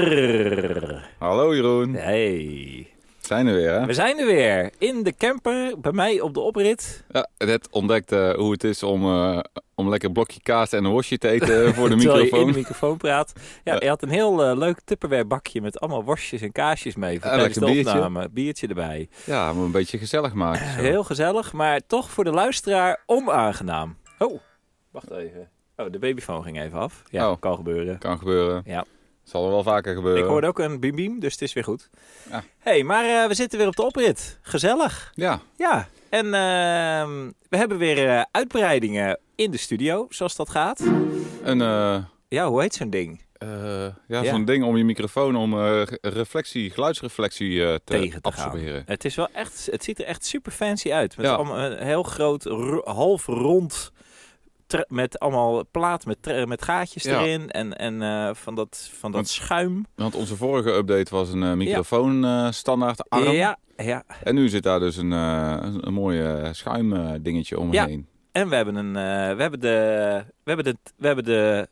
Walter. Hallo Jeroen, Hey. zijn er weer hè? We zijn er weer. In de camper, bij mij op de oprit. Ja, net ontdekt eh, hoe het is om, eh, om lekker een blokje kaas en een worstje te eten eh, voor de Terwijl je in microfoon. de microfoon praat. Ja, Ja. je had een heel eh, leuk Tupperware bakje met allemaal worstjes en kaasjes mee. Voor Ja, tijdens lekker de biertje. opname. Biertje erbij. Ja, om een beetje gezellig maken. zo. Heel gezellig, maar toch voor de luisteraar onaangenaam. Oh, wacht even. Oh, de babyfoon ging even af. Ja, Oh. kan gebeuren. Kan gebeuren. Ja. Zal er wel vaker gebeuren. Ik hoorde ook een bim bim, dus het is weer goed. Ja. hey, maar eh, we zitten weer op de oprit. Gezellig. Ja, Ja, en ehm, we hebben weer eh, uitbreidingen in de studio, zoals dat gaat. een, eh, Ja, hoe heet zo'n ding? eh, ja, Ja. zo'n ding om je microfoon om eh, reflectie, geluidsreflectie eh, te Tegen te gaan. absorberen. Het, is wel echt, het ziet er echt super fancy uit. Met Ja. allemaal een heel groot, ro- half rond, tra- met allemaal plaat met, tra- met gaatjes Ja. erin. En, en eh, van dat, van dat Want- schuim. Want onze vorige update was een eh, microfoon eh, standaard arm. Ja, ja. En nu zit daar dus een, eh, een, een mooie eh, schuimdingetje omheen. En we hebben, een, eh, we hebben de, we hebben de, we hebben de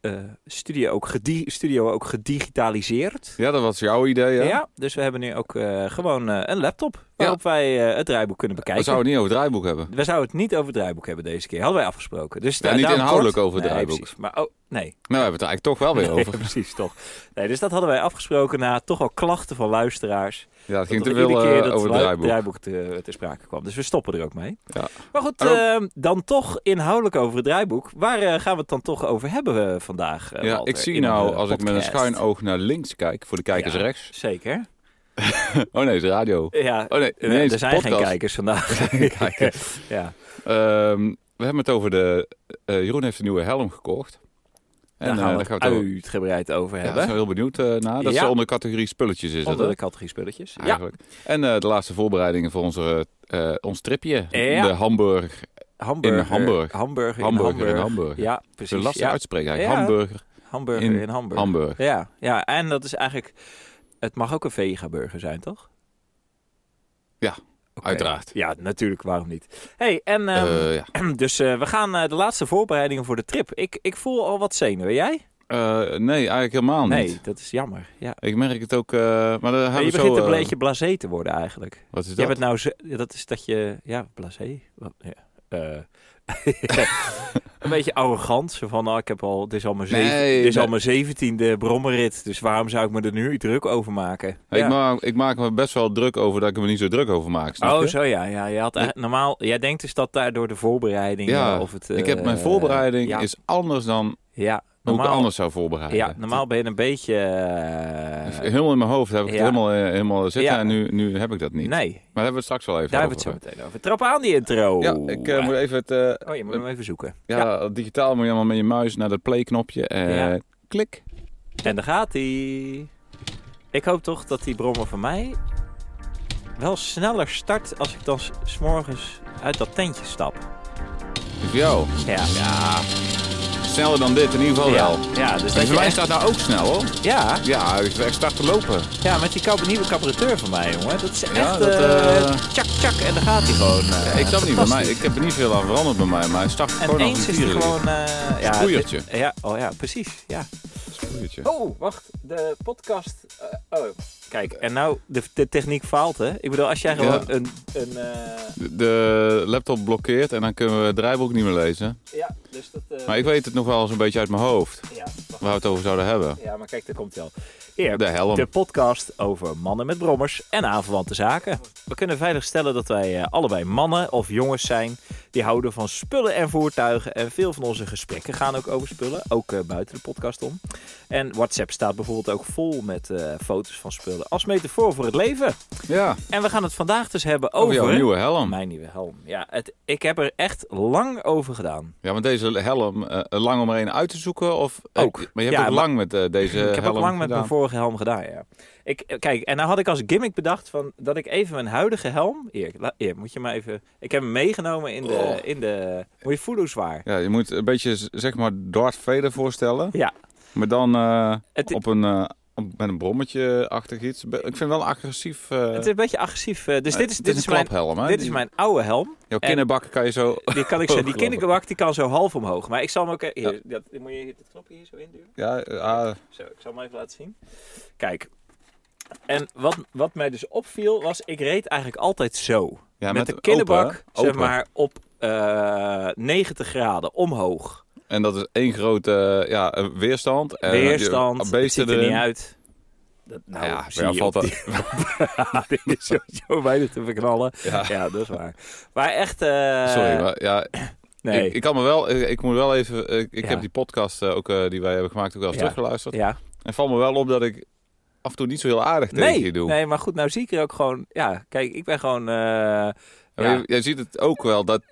eh, studio, ook gedi- studio ook gedigitaliseerd. Ja. dat was jouw idee hè? Ja. dus we hebben nu ook eh, gewoon eh, een laptop waarop wij eh, het draaiboek kunnen bekijken. We zouden het niet over het draaiboek hebben. We zouden het niet over het draaiboek hebben deze keer, hadden wij afgesproken. Dus Ja, da- niet daarom inhoudelijk kort. over het Nee, draaiboek. precies. Maar oh, nee, Nou, we hebben het er eigenlijk toch wel weer Nee, over. precies toch. Nee, dus dat hadden wij afgesproken na toch wel klachten van luisteraars. Ja, het ging dat te er iedere veel keer eh, dat over het lu- draaiboek. te, te sprake kwam. Dus we stoppen er ook mee. Ja. Maar goed, En ook- ehm, dan toch inhoudelijk over het draaiboek. Waar eh, gaan we het dan toch over hebben eh, vandaag? eh, Ja, Walter, ik zie in nou, de als ik met een podcast? schuin oog naar links kijk, voor de kijkers Ja. rechts. Zeker. Oh nee, het is radio. Ja, Oh nee, eh, nee, het er is zijn podcast. geen kijkers vandaag. kijkers. ja. Ehm, we hebben het over de... eh, Jeroen heeft een nieuwe helm gekocht. Daar eh, gaan we gaan het we het over- uitgebreid over Ja, daar zijn hebben. we heel benieuwd eh, naar. Dat Ja. is onder de categorie spulletjes, is Onder de dat categorie spulletjes. hè? Ja, Eigenlijk. En eh, de laatste voorbereidingen voor onze, eh, eh, ons tripje. Ja. De Hamburg. hamburger. In Hamburg. Hamburger in Hamburger in Hamburg. Hamburg. Ja, Ze precies. lastig Ja, uitspreken eigenlijk. Ja. Hamburger, hamburger in, in Hamburg. Hamburg. Ja, ja, en dat is eigenlijk... Het mag ook een vegaburger zijn, toch? Ja, Oké. uiteraard. Ja, natuurlijk, waarom niet? hey, en ehm, Eh, ja. dus eh, we gaan eh, de laatste voorbereidingen voor de trip. Ik, ik voel al wat zenuwen. Jij? Eh, nee, eigenlijk helemaal nee, niet. dat is jammer. Ja. Ik merk het ook... eh, maar daar Maar gaan je we zo... begint een eh, beetje blasé te worden eigenlijk. Wat is dat? Jij bent nou zo, ja, dat is dat je, ja, blasé. Wat- Ja, eh, een beetje arrogant. Zo van, nou, ik heb al, dit is al mijn, zeven, Nee, dit is nee. al mijn zeventiende brommerrit. Dus waarom zou ik me er nu druk over maken? Ik, Ja. maak, ik maak me best wel druk over dat ik me niet zo druk over maak. snap Oh, je? zo ja. ja je had, eigenlijk- normaal, jij denkt dus dat daardoor de voorbereiding Ja, eh, of het... ik heb mijn eh, voorbereiding ja, is anders dan ja, hoe ik normaal, anders zou voorbereiden. ja, normaal ben je een beetje... eh, Helemaal in mijn hoofd heb ik ja. het helemaal, eh, helemaal zitten Ja. en nu, nu heb ik dat niet. nee, Maar daar hebben we het straks wel even daar hebben over. we het zo meteen over. Trap aan die intro. ja, ik eh, moet even het... eh, Oh, je moet hem even zoeken. ja, digitaal moet je allemaal met je muis naar dat play-knopje. eh, Ja. Klik. En daar gaat hij. Ik hoop toch dat die brommer van mij wel sneller start als ik dan s- s morgens uit dat tentje stap. Voor jou. Ja, ja. Sneller dan dit, in ieder geval wel. ja. ja dus dat voor je mij echt, staat nou ook snel hoor. ja, Ja, ik ik start te lopen. ja, met die kap- nieuwe carburateur van mij, jongen. Dat is echt... dat, eh, eh, tjak, tjak. En daar gaat hij gewoon. eh, ik snap niet, bij mij, fantastisch. ik heb er niet veel aan veranderd bij mij, maar hij start En gewoon als eens een is hij tierenlier. gewoon... eh ja, Sproeiertje. dit- Ja, oh ja, precies. Ja. Sproeiertje. Oh, wacht. De podcast. eh, oh. Kijk, en nou, de, de techniek faalt, hè? Ik bedoel, als jij gewoon Ja. een... een eh, De- De laptop blokkeert en dan kunnen we het draaiboek niet meer lezen. Ja, dus dat. eh, Maar ik weet het nog wel eens een beetje uit mijn hoofd. ja, wacht. Waar we het over zouden hebben. ja, maar kijk, daar komt wel. Hier, De de, helm. podcast over mannen met brommers en aanverwante zaken. We kunnen veilig stellen dat wij eh, allebei mannen of jongens zijn. Die houden van spullen en voertuigen. En veel van onze gesprekken gaan ook over spullen. Ook eh, buiten de podcast om. En WhatsApp staat bijvoorbeeld ook vol met eh, foto's van spullen. Als metafoor voor het leven. Ja, En we gaan het vandaag dus hebben over over. jouw nieuwe helm. Mijn nieuwe helm. Ja, het, ik heb er echt lang over gedaan. Ja, want deze helm, eh, lang om er een uit te zoeken? Of, eh, Ook. maar je hebt Ja, ook maar- lang met eh, deze helm Ik heb ook lang met gedaan. mijn vorige helm gedaan, ja. Ik, eh, kijk, en nou had ik als gimmick bedacht van, dat ik even mijn huidige helm... Hier, la- hier, moet je maar even... Ik heb hem meegenomen in de... Oh. In de moet je voelen hoe zwaar. Ja, je moet een beetje, z- zeg maar, Darth Vader voorstellen. Ja. Maar dan eh, Het- op een eh, met een brommetje-achtig iets. Be- Ik vind het wel een agressief... eh, Het is een beetje agressief. eh, Dus eh, dit is, dit is, een mijn, klaphelm, hè? dit is Die- mijn oude helm. Jouw en- kinderbak kan je zo... Die kan ik zo, die Hoog kinderbak die kan zo half omhoog. Maar ik zal hem ook... eh, Hier, Ja. dat, moet je dit knopje hier zo induwen? Ja, eh, ah, Zo, ik zal hem even laten zien. Kijk. En wat, wat mij dus opviel was, ik reed eigenlijk altijd zo. ja, met, de open, kinderbak, hè? zeg Open. maar, op eh 90 graden omhoog. En dat is één grote eh, ja, eh, weerstand. En dan heb je eh, Weerstand, het beesten ziet er erin. niet uit. Dat, nou, ja, ja, maar zie ja, je valt op die- die is sowieso bijna te verknallen. Ja. Ja, dat is waar. Maar echt... eh, Sorry, maar ja, Nee. ik, ik kan me wel... Ik, ik moet wel even... eh, Ik, ik Ja. heb die podcast eh, ook, eh, die wij hebben gemaakt ook wel eens Ja. teruggeluisterd. ja. En valt me wel op dat ik af en toe niet zo heel aardig tegen Nee, je doe. nee, maar goed, nou zie ik er ook gewoon... Ja, kijk, ik ben gewoon... eh, Maar Ja. je- Jij ziet het ook wel. Dat,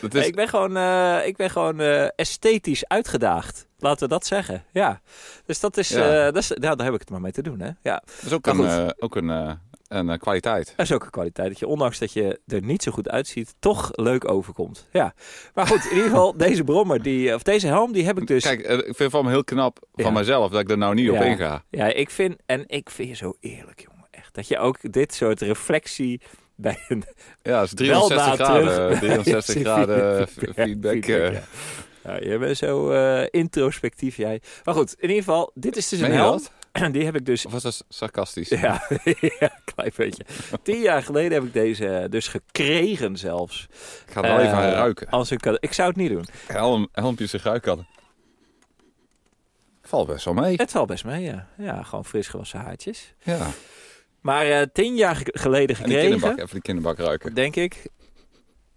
dat is, Ik ben gewoon, eh, ik ben gewoon eh, esthetisch uitgedaagd. Laten we dat zeggen. Ja. Dus dat is, Ja. eh, dat is nou, daar heb ik het maar mee te doen. Hè? Ja. dat is ook, Maar een, goed. eh, ook een, eh, een eh, kwaliteit. Dat is ook een kwaliteit. Dat je ondanks dat je er niet zo goed uitziet, toch leuk overkomt. Ja. Maar goed, in ieder geval, deze brommer, die, of deze helm, die heb ik dus. Kijk, eh, ik vind het van me heel knap van Ja. mijzelf dat ik er nou niet op Ja. inga. Ja, ik vind, en ik vind je zo eerlijk, jongen. Echt. Dat je ook dit soort reflectie bij een Ja, het is Wel dus. 360 na graden, terug. 360 graden Feedback, feedback. eh. feedback, ja. Ja, Nou, je bent zo eh, introspectief, jij. Maar goed, in ieder geval, dit is dus Meen een je helm. dat? Oh, Die heb ik dus Of was dat sarcastisch? Ja, ja, klein beetje. Tien jaar geleden heb ik deze dus gekregen zelfs. Ik ga er wel even aan Eh, ruiken. Als ik, ik zou het niet doen. Helm, helmpjes en ruiken. Valt best wel mee. Het valt best mee, ja. Ja, gewoon fris gewassen haartjes. Ja. Maar eh, tien jaar ge- geleden En die kinderbak, gekregen, even die kinderbak ruiken. denk ik.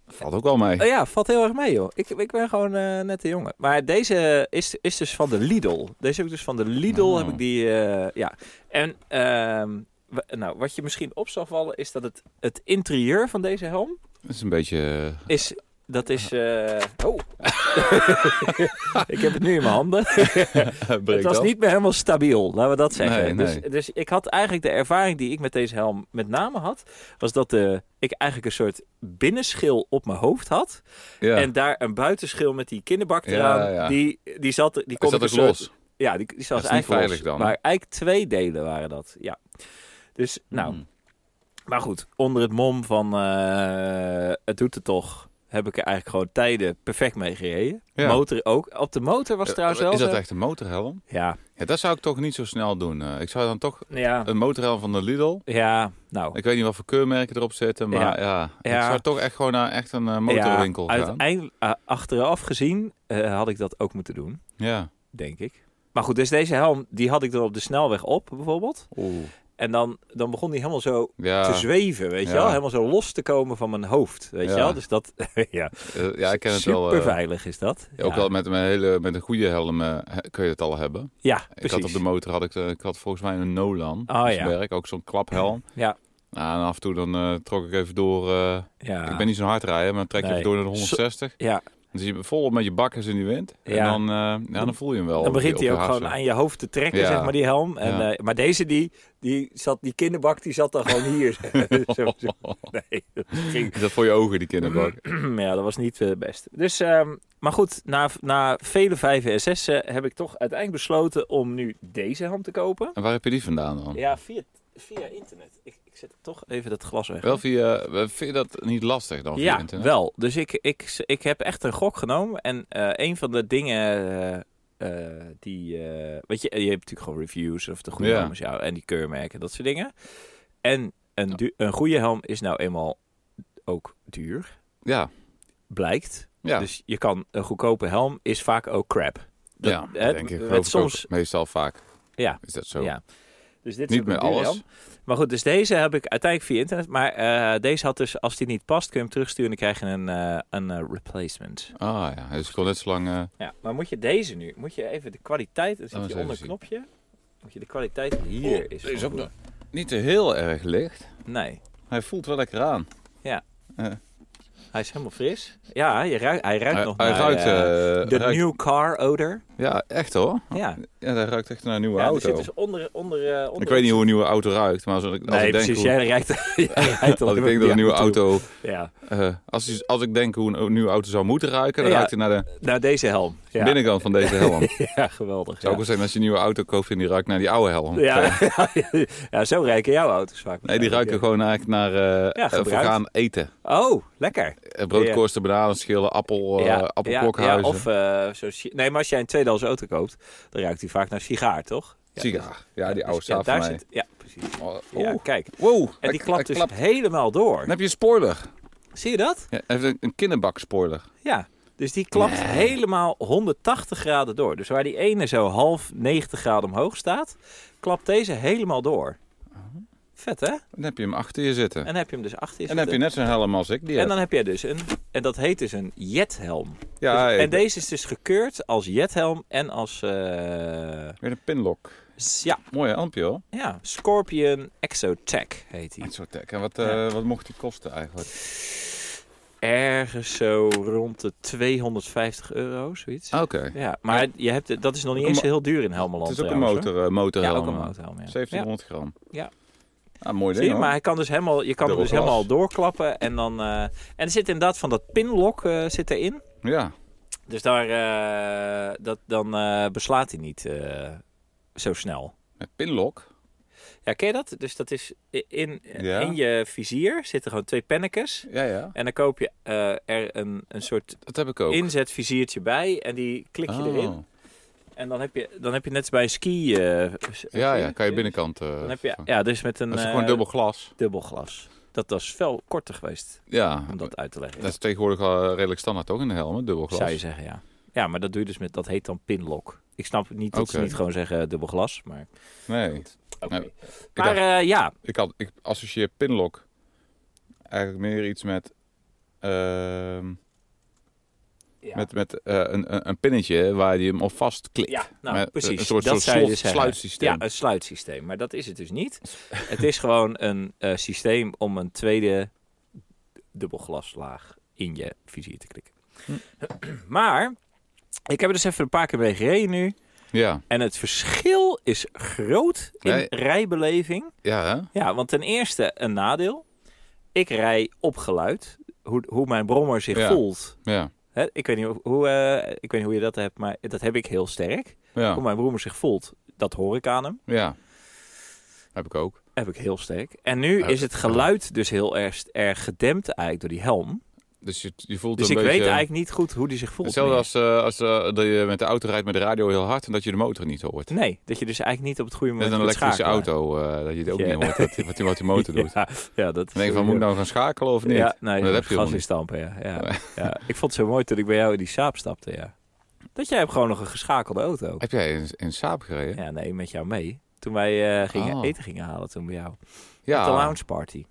Valt ook wel mee. Oh ja, valt heel erg mee, joh. Ik, ik ben gewoon eh, net een jongen. Maar deze is, is dus van de Lidl. Deze heb ik dus van de Lidl. Oh. Heb ik die, eh, ja. En ehm, wa- nou, wat je misschien op zal vallen, is dat het, het interieur van deze helm Dat is een beetje... eh, is. Dat is. eh, Oh. ik heb het nu in mijn handen. het was niet meer helemaal stabiel, laten we dat zeggen. Nee, nee. Dus, dus ik had eigenlijk de ervaring die ik met deze helm met name had. Was dat de, ik eigenlijk een soort binnenschil op mijn hoofd had. Ja. En daar een buitenschil met die kinderbak Ja, eraan. ja. Die, die zat. Die Is kon dat ik ook een soort- los? Ja, die, die zat Dat is niet eigenlijk veilig los. dan. Maar eigenlijk twee delen waren dat. Ja. Dus nou, Hmm. maar goed, onder het mom van eh, het doet het toch, heb ik er eigenlijk gewoon tijden perfect mee gereden. Ja. Eh, Motor ook. Op de motor was het trouwens wel. Is dat zo- echt een motorhelm? Ja, Ja, dat zou ik toch niet zo snel doen. Eh, Ik zou dan toch ja, een motorhelm van de Lidl... ja, nou. Ik weet niet wat voor keurmerken erop zitten, maar ja. Ja. Ik zou toch echt gewoon naar echt een eh, motorwinkel ja, gaan. Uiteindelijk, eh, achteraf gezien, eh, had ik dat ook moeten doen, Ja. denk ik. Maar goed, dus deze helm, die had ik dan op de snelweg op, bijvoorbeeld. Oeh. En dan, dan begon die helemaal zo Ja, te zweven, weet je Ja. wel? Helemaal zo los te komen van mijn hoofd, weet Ja. je wel? Dus dat, ja, eh, ja, ik ken het wel. eh, super veilig is dat. Ja, Ook wel met, met, een hele, met een goede helm eh, he- kun je het al hebben. Ja, Ik had op precies. de motor, had ik, eh, ik had volgens mij een Nolan. Oh, als ja. merk, ook zo'n klaphelm. Ja. Nou, en af en toe dan eh, trok ik even door. eh, Ja. Ik ben niet zo'n hard rijden, maar dan trek je Nee. even door naar de 160. Ja, Dan zit je vol met je bakkers in die wind. En Ja. dan, eh, ja, dan voel je hem wel. dan op je- begint op hij je ook gewoon hartslag. aan je hoofd te trekken, Ja. zeg maar, die helm. En, Ja. eh, maar deze, die, die, zat, die kinderbak, die zat dan gewoon hier. Zo- zo. Nee, dat ging... Is dat voor je ogen, die kinderbak? Mhm. ja, dat was niet eh, het beste. Dus, ehm, maar goed, na, na vele vijven en zessen heb ik toch uiteindelijk besloten om nu deze helm te kopen. en waar heb je die vandaan dan? Ja, via, via internet. Ik, ik zet toch even dat glas weg. Wel via, eh, vind je dat niet lastig dan? via Ja, internet? wel. Dus ik, ik, ik heb echt een gok genomen. En eh, een van de dingen eh, eh, die... eh, weet je, je hebt natuurlijk gewoon reviews of de goede Ja. helm is jou. En die keurmerken, dat soort dingen. En een, Ja. du- een goede helm is nou eenmaal ook duur, Ja. blijkt. Ja, Dus je kan een goedkope helm is vaak ook crap. dat- ja hè, denk ik. het geloof ik ook soms- meestal vaak Ja. is dat zo. Ja. Dus dit Niet ook een met duur alles. helm. Maar goed, dus deze heb ik uiteindelijk via internet. Maar eh, deze had dus, als die niet past, kun je hem terugsturen en dan krijg je een, eh, een eh, replacement. Ah ja, dus ik kon net zo lang... eh, Ja, maar moet je deze nu? Moet je even de kwaliteit... Er zit eens hier even onder een zien. knopje. Moet je de kwaliteit hier Oh, is... deze van ook doen. niet heel erg licht. Nee, Hij voelt wel lekker aan. hij is helemaal fris. Ja, je ruikt, hij ruikt hij, nog hij naar... ruikt, eh, eh, de ruikt- new car odor. Ja, echt hoor. Ja, Ja, hij ruikt echt naar een nieuwe ja er auto. zit dus onder... onder, eh, onder Ik weet niet hoe een nieuwe auto ruikt, maar als ik, als Nee, ik denk, precies. hoe, Jij ruikt... jij ruikt als onder ik denk dat die een nieuwe auto... Ja, eh, als, die- als ik denk hoe een nieuwe auto zou moeten ruiken, dan Ja. ruikt hij naar de... nou deze helm. Ja. binnenkant van deze helm. Ja, geweldig. Zou Ja. ook wel zijn als je een nieuwe auto koopt en die ruikt naar die oude helm. Ja, ja, zo ruiken jouw auto's vaak. Nee, die ruiken gewoon eigenlijk naar eh eh, gebruikt. vergaan eten. Oh, lekker. Eh, Broodkorsten, bananenschillen, appel, eh appelklokhuizen, ja, of eh, zo, si- nee, maar als jij een tweedehands auto koopt, dan ruikt die vaak naar sigaar, toch? Ja, sigaar. Ja, die oude dus- ja, staaf daar van mij. zit- Ja, precies. Oh, Ja, oeh. kijk. Wow, En hij- die klapt hij dus helemaal door. Dan heb je een spoiler. Zie je dat? Ja, hij heeft een, een kinderbakspoiler. Ja. Dus die klapt helemaal 180 graden door. Dus waar die ene zo half 90 graden omhoog staat, klapt deze helemaal door. Oh. Vet, hè? Dan heb je hem achter je zitten. En, En heb je hem dus achter je dan heb je zitten. net zo'n helm als ik. Die heb. En dan heb jij dus een, en dat heet dus een jethelm. ja, Dus- ik- en deze is dus gekeurd als jethelm en als, eh, weer een pinlock. s- ja, Mooie helmpje hoor. ja, Scorpion Exotech heet die. Exotech. En wat, Ja. eh, wat mocht die kosten eigenlijk? Ergens zo rond de 250 euro, zoiets. Oké. Ah. Ja, maar je hebt, de- dat is nog niet Ook een eens heel duur in Helmeland. Het is ook een trouwens, hoor. motor, eh, motorhelm. Ja, ook een eh, motorhelm. Ja. 1700 gram. Ja. Ah, mooi Ja. ding Zie je, hoor. maar hij kan dus helemaal, je kan hem Dubbel dus glas. helemaal doorklappen. En, dan, eh, en er zit inderdaad van dat pinlock eh, zit erin. Ja. Dus daar, eh, dat, dan eh, beslaat hij niet eh, zo snel. Met pinlock. Ja, ken je dat? Dus dat is i- in, Ja. in je vizier zitten gewoon twee pennekes. Ja, ja. Oh. En dan koop je eh, er een, een soort Dat heb ik ook. inzetviziertje bij. En die klik je Oh. erin. En dan heb je, dan heb je net als bij een ski... eh, s- Ja, zie ja. je? Kan je binnenkant... eh Dan heb je, vervangen. ja, dus met een dat is eh, gewoon dubbel glas. dubbelglas. Dat was veel korter geweest Ja. om dat uit te leggen. Dat is tegenwoordig wel redelijk standaard toch in de helmen, dubbel glas. Zou je zeggen, ja. Ja, maar dat doe je dus met, dat heet dan pinlock. Ik snap niet dat ze Oké. niet gewoon zeggen dubbelglas, maar... Nee. oké. Nou, maar eh, ja, Ik, had, ik associeer pinlock eigenlijk meer iets met... ehm, ja. Met, met eh, een, een- een pinnetje waar je hem op vastklikt. ja, nou met precies. Een soort, dat soort zou je slot- dus zeggen. sluitsysteem. Ja, een sluitsysteem. Maar dat is het dus niet. het is gewoon een eh, systeem om een tweede dubbelglaslaag in je vizier te klikken. Hm. maar ik heb er dus even een paar keer mee gereden nu. Ja, En het verschil is groot in Nee. rijbeleving. ja, hè? Ja, want ten eerste een nadeel. Ik rij op geluid. Hoe, hoe mijn brommer zich Ja. voelt. ja. Hè, ik, weet niet hoe- hoe, eh, ik weet niet hoe je dat hebt, maar dat heb ik heel sterk. Hoe Ja, mijn brommer zich voelt, dat hoor ik aan hem. ja. Heb ik ook. Heb ik heel sterk. En nu Oh, is het geluid dus heel erg, erg gedempt eigenlijk door die helm. Dus je, je voelt Dus ik een beetje... weet eigenlijk niet goed hoe die zich voelt. Hetzelfde meer. als, eh, als eh, dat je met de auto rijdt met de radio heel hard en dat je de motor niet hoort. Nee, dat je dus eigenlijk niet op het goede Met moment een kunt elektrische schakelen. auto, eh, dat je het ook Ja. niet hoort, dat, wat, die, wat die motor doet. Ja, ja, dat is Dan denk je van, sowieso. moet ik nou gaan schakelen of niet? Ja, Maar nee, dat heb gas je helemaal in niet. stampen, ja. Ja, ja. Ik vond het zo mooi toen ik bij jou in die saap stapte, ja. Dat jij hebt gewoon nog een geschakelde auto. Heb jij in, in Saab gereden? Ja, nee, met jou mee. Toen wij eh, gingen Oh. eten gingen halen toen bij jou. Ja. Met de lounge party.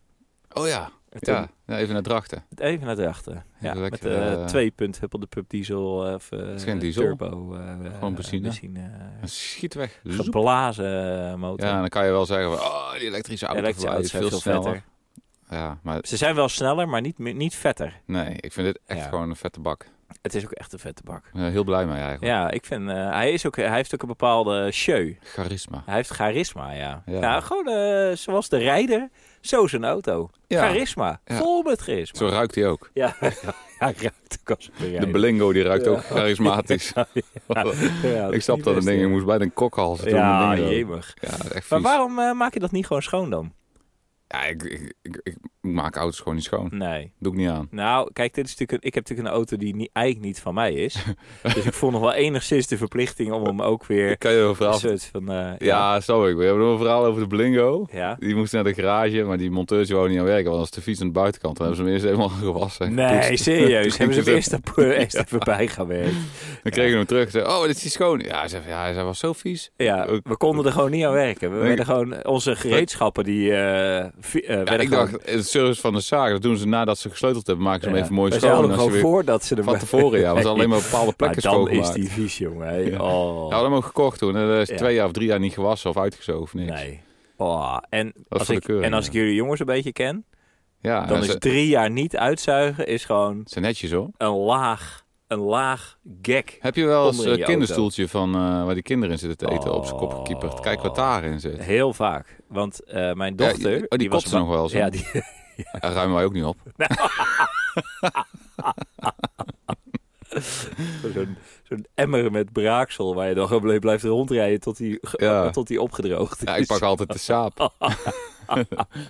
Oh ja. En toen ja. Ja, even naar Drachten. Even naar de achter. Ja, Even met lekker, de eh, twee punt huppel de pup diesel eh, of eh, is geen diesel. turbo. eh, Gewoon benzine. eh, En Schiet weg. Zoep. geblazen eh, motor. Ja, en dan kan je wel zeggen van, oh, die elektrische auto Elektrische auto's rijdt zijn veel veel sneller. vetter. Ja, maar Ze zijn wel sneller, maar niet, meer- niet vetter. nee, ik vind dit echt Ja. gewoon een vette bak. Het is ook echt een vette bak. Ik ben er heel blij mee eigenlijk. Ja, ik vind... eh, hij, is ook, hij heeft ook een bepaalde show. Charisma. Hij heeft charisma, ja. Ja. Nou, gewoon eh, zoals de rijder, zo zijn auto. Ja, Charisma. Ja. Vol met charisma. zo ruikt hij ook. Ja, ja, hij ruikt ook als een De rijder. Belingo die ruikt Ja. ook charismatisch. Ja, dat ik is snap niet dat een best, ding. Ik hè. moest bijna een kokhals doen. Ja, dat ding rook. jemig. ja dat is echt Maar vies. waarom eh, maak je dat niet gewoon schoon dan? Ja, ik, ik, ik, ik maak auto's gewoon niet schoon. Nee. Doe ik niet aan. Nou, kijk, dit is natuurlijk een- ik heb natuurlijk een auto die niet, eigenlijk niet van mij is. dus ik voel nog wel enigszins de verplichting om hem ook weer Ik kan je wel een een verhaal... soort van... eh, Ja, snap ik. We hebben nog een verhaal over de Blingo. Ja. Die moest naar de garage, maar die monteurs wou niet aan werken. Want als de fiets aan de buitenkant, dan hebben ze hem eerst helemaal gewassen. Dus- en gepoetst. Nee, serieus. Toen Hebben ze gingen hem eerst even- eerst even bijgewerkt. Dan kregen we hem terug. Zei, oh, dit is die schoon. Ja, hij zei, van, ja, hij zei, was zo vies. Ja, Ook- we konden er gewoon niet aan werken. We Nee. werden gewoon, onze gereedschappen die eh, vi- eh, Ja, werden ik gewoon... dacht, de service van de zaak, dat doen ze nadat ze gesleuteld hebben, maken ze hem ja, even mooi we schoon. zouden en als gewoon je weer- voor dat ze er van tevoren, ja, was alleen maar bepaalde Maar plekken dan is schoongemaakt. die vies, jongen. hè. Ja. Nou, Oh, Ja, we hadden hem ook gekocht toen. En dat is Ja. twee jaar of drie jaar niet gewassen of uitgezogen of niks. nee. Oh, en is als, voor de ik, keuring, en als ja. ik jullie jongens een beetje ken, Ja, dan en is ze, drie jaar niet uitzuigen is gewoon ze netjes hoor. een laag, een laag gek. Heb je wel eens Onder in een je kinderstoeltje van eh, waar die kinderen in zitten te eten op zijn Oh. kop gekieperd? Kijk wat daarin zit. Heel vaak. Want eh, mijn dochter... Ja, oh, die, was kopt ze nog wel eens. hè? Ja, die, Daar ruimen wij ook niet op. Zo'n zo'n emmer met braaksel waar je dan gewoon bl- blijft rondrijden tot die, ge- Ja. tot die opgedroogd is. Ja, ik pak altijd de saap.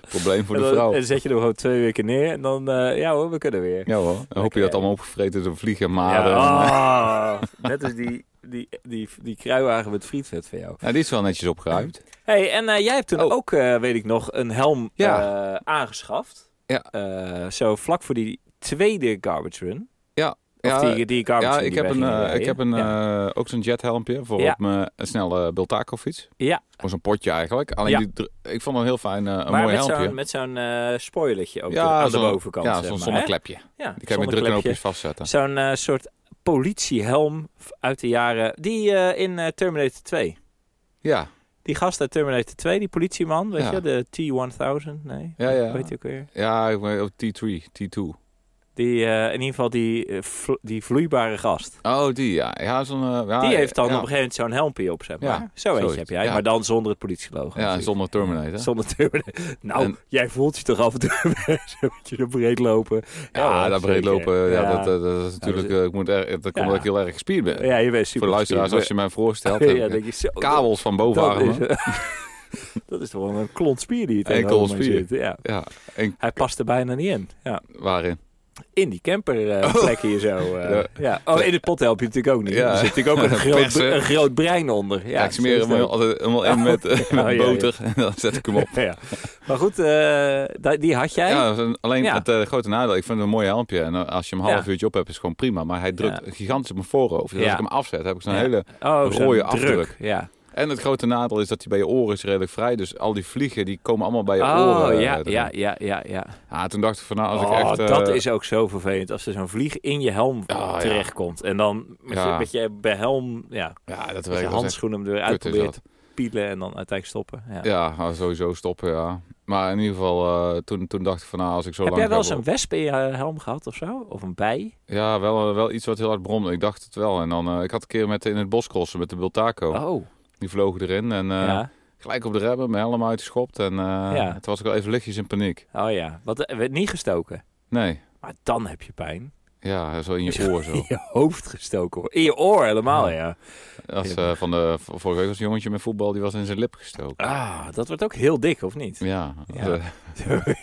Probleem voor en dan, de en vrouw. dan zet je er gewoon twee weken neer en dan, eh, ja hoor, we kunnen weer. Ja hoor. Dan hoop je dat allemaal opgevreten is door vliegen eh, en maden. Ja, ah, net als die, die, die, die kruiwagen met frietvet van jou. Ja, nou, die is wel netjes opgeruimd. hey, en eh, jij hebt toen Oh. ook, eh, weet ik nog, een helm Ja. eh, aangeschaft. Ja. Eh, zo vlak voor die tweede garbage run. Of Ja, die, die garbage ja run ik, die heb wij een, gingen eh, ik rijden. heb een, Ja. eh, ook zo'n jethelmpje voor Ja. op mijn een snelle Biltaco fiets. Ja. Voor zo'n potje eigenlijk. Alleen Ja. die dr- ik vond een heel fijn, eh, een maar met mooi helmpje. zo'n, met zo'n eh, spoilertje ook aan de zo'n- bovenkant. Ja, zeg zo'n maar, zonneklepje. hè? Ja, Die kan je met drukknoopjes vastzetten. Zo'n eh, soort politiehelm v- uit de jaren... Die eh, in eh, Terminator 2. Ja, Die gast uit Terminator 2, die politieman, weet Ja. je? De T-1000, nee? Ja, ja. Weet je ook weer? ja ik oh, ben op T3, T2. Die, eh, in ieder geval die, eh, vlo- die vloeibare gast. Oh, die ja. ja, zo'n, eh, ja die heeft dan ja. op een gegeven moment zo'n helmpje op, zeg maar. Ja, Zo eentje zoiets, heb jij, ja. maar dan zonder het politielogo. Ja, natuurlijk. zonder Terminator. Zonder Terminator. Nou, En- jij voelt je toch af en toe een beetje- een beetje breed lopen. ja, hoor, dat breed zeker. lopen, ja. dat, dat, dat is natuurlijk, dus- eh, ik moet erg, dat komt Ja. omdat ik heel erg gespierd ben. Ja, je bent super. Voor de luisteraars, als je mij voorstelt, heb ja, ik denk je, zo, kabels van dat bovenarmen. is, dat is toch wel een klont spier die het Een in klont Holman spier. zit, Ja. Ja, en Hij past er bijna niet in. Ja. waarin? In die camper eh Oh. plekken hier zo. eh, Ja. ja. Oh, in het pot help je natuurlijk ook niet. Ja. Er zit natuurlijk ook een groot, Persen. een groot brein onder. Ja, Ja, ik smeer hem wel. altijd helemaal in met, eh, met ja, ja. boter en dan zet ik hem op. Ja. Maar goed, eh, da- die had jij. Ja, dat is een- alleen Ja. het eh, grote nadeel, ik vind het een mooi helmpje. En eh, als je hem een half Ja. uurtje op hebt, is het gewoon prima. Maar hij drukt gigantisch op mijn voorhoofd. Dus Ja. als ik hem afzet, heb ik zo'n Ja. hele... oh, zo'n rode druk. afdruk. Ja. En het grote nadeel is dat hij bij je oren is redelijk vrij. Dus al die vliegen, die komen allemaal bij je Oh, oren. eh, ja, erin. ja, ja, ja, ja. Ah, toen dacht ik van, nou, als oh, ik echt... eh, dat is ook zo vervelend. Als er zo'n vlieg in je helm Ah, ja. terechtkomt. En dan met, Ja. je, met je bij helm, ja, Ja, dat met werkt je wel echt handschoenen hem er weer kut, uit is probeert dat. te pielen. En dan uiteindelijk stoppen. Ja. Ja, nou, sowieso stoppen, ja. Maar in ieder geval, eh, toen, toen dacht ik van, nou, als ik zo Heb lang... jij wel eens ga- een wesp in je eh, helm gehad of zo? Of een bij? Ja, wel, eh, wel iets wat heel hard bromde. Ik dacht het wel. En dan, eh, ik had een keer met, in het bos crossen met de Bultaco. Oh, Die vlogen erin en eh, ja. gelijk op de remmen, mijn helm uitgeschopt. En eh Ja. toen was ik wel even lichtjes in paniek. Oh ja, wat eh, werd niet gestoken. Nee, Maar dan heb je pijn. ja, zo in je oor zo. In je hoofd gestoken. hoor. In je oor Oh. helemaal, ja. Als, eh, van de, vorige week was een jongetje met voetbal, die was in zijn lip gestoken. Ah, dat wordt ook heel dik, of niet? Ja, Ja. eh,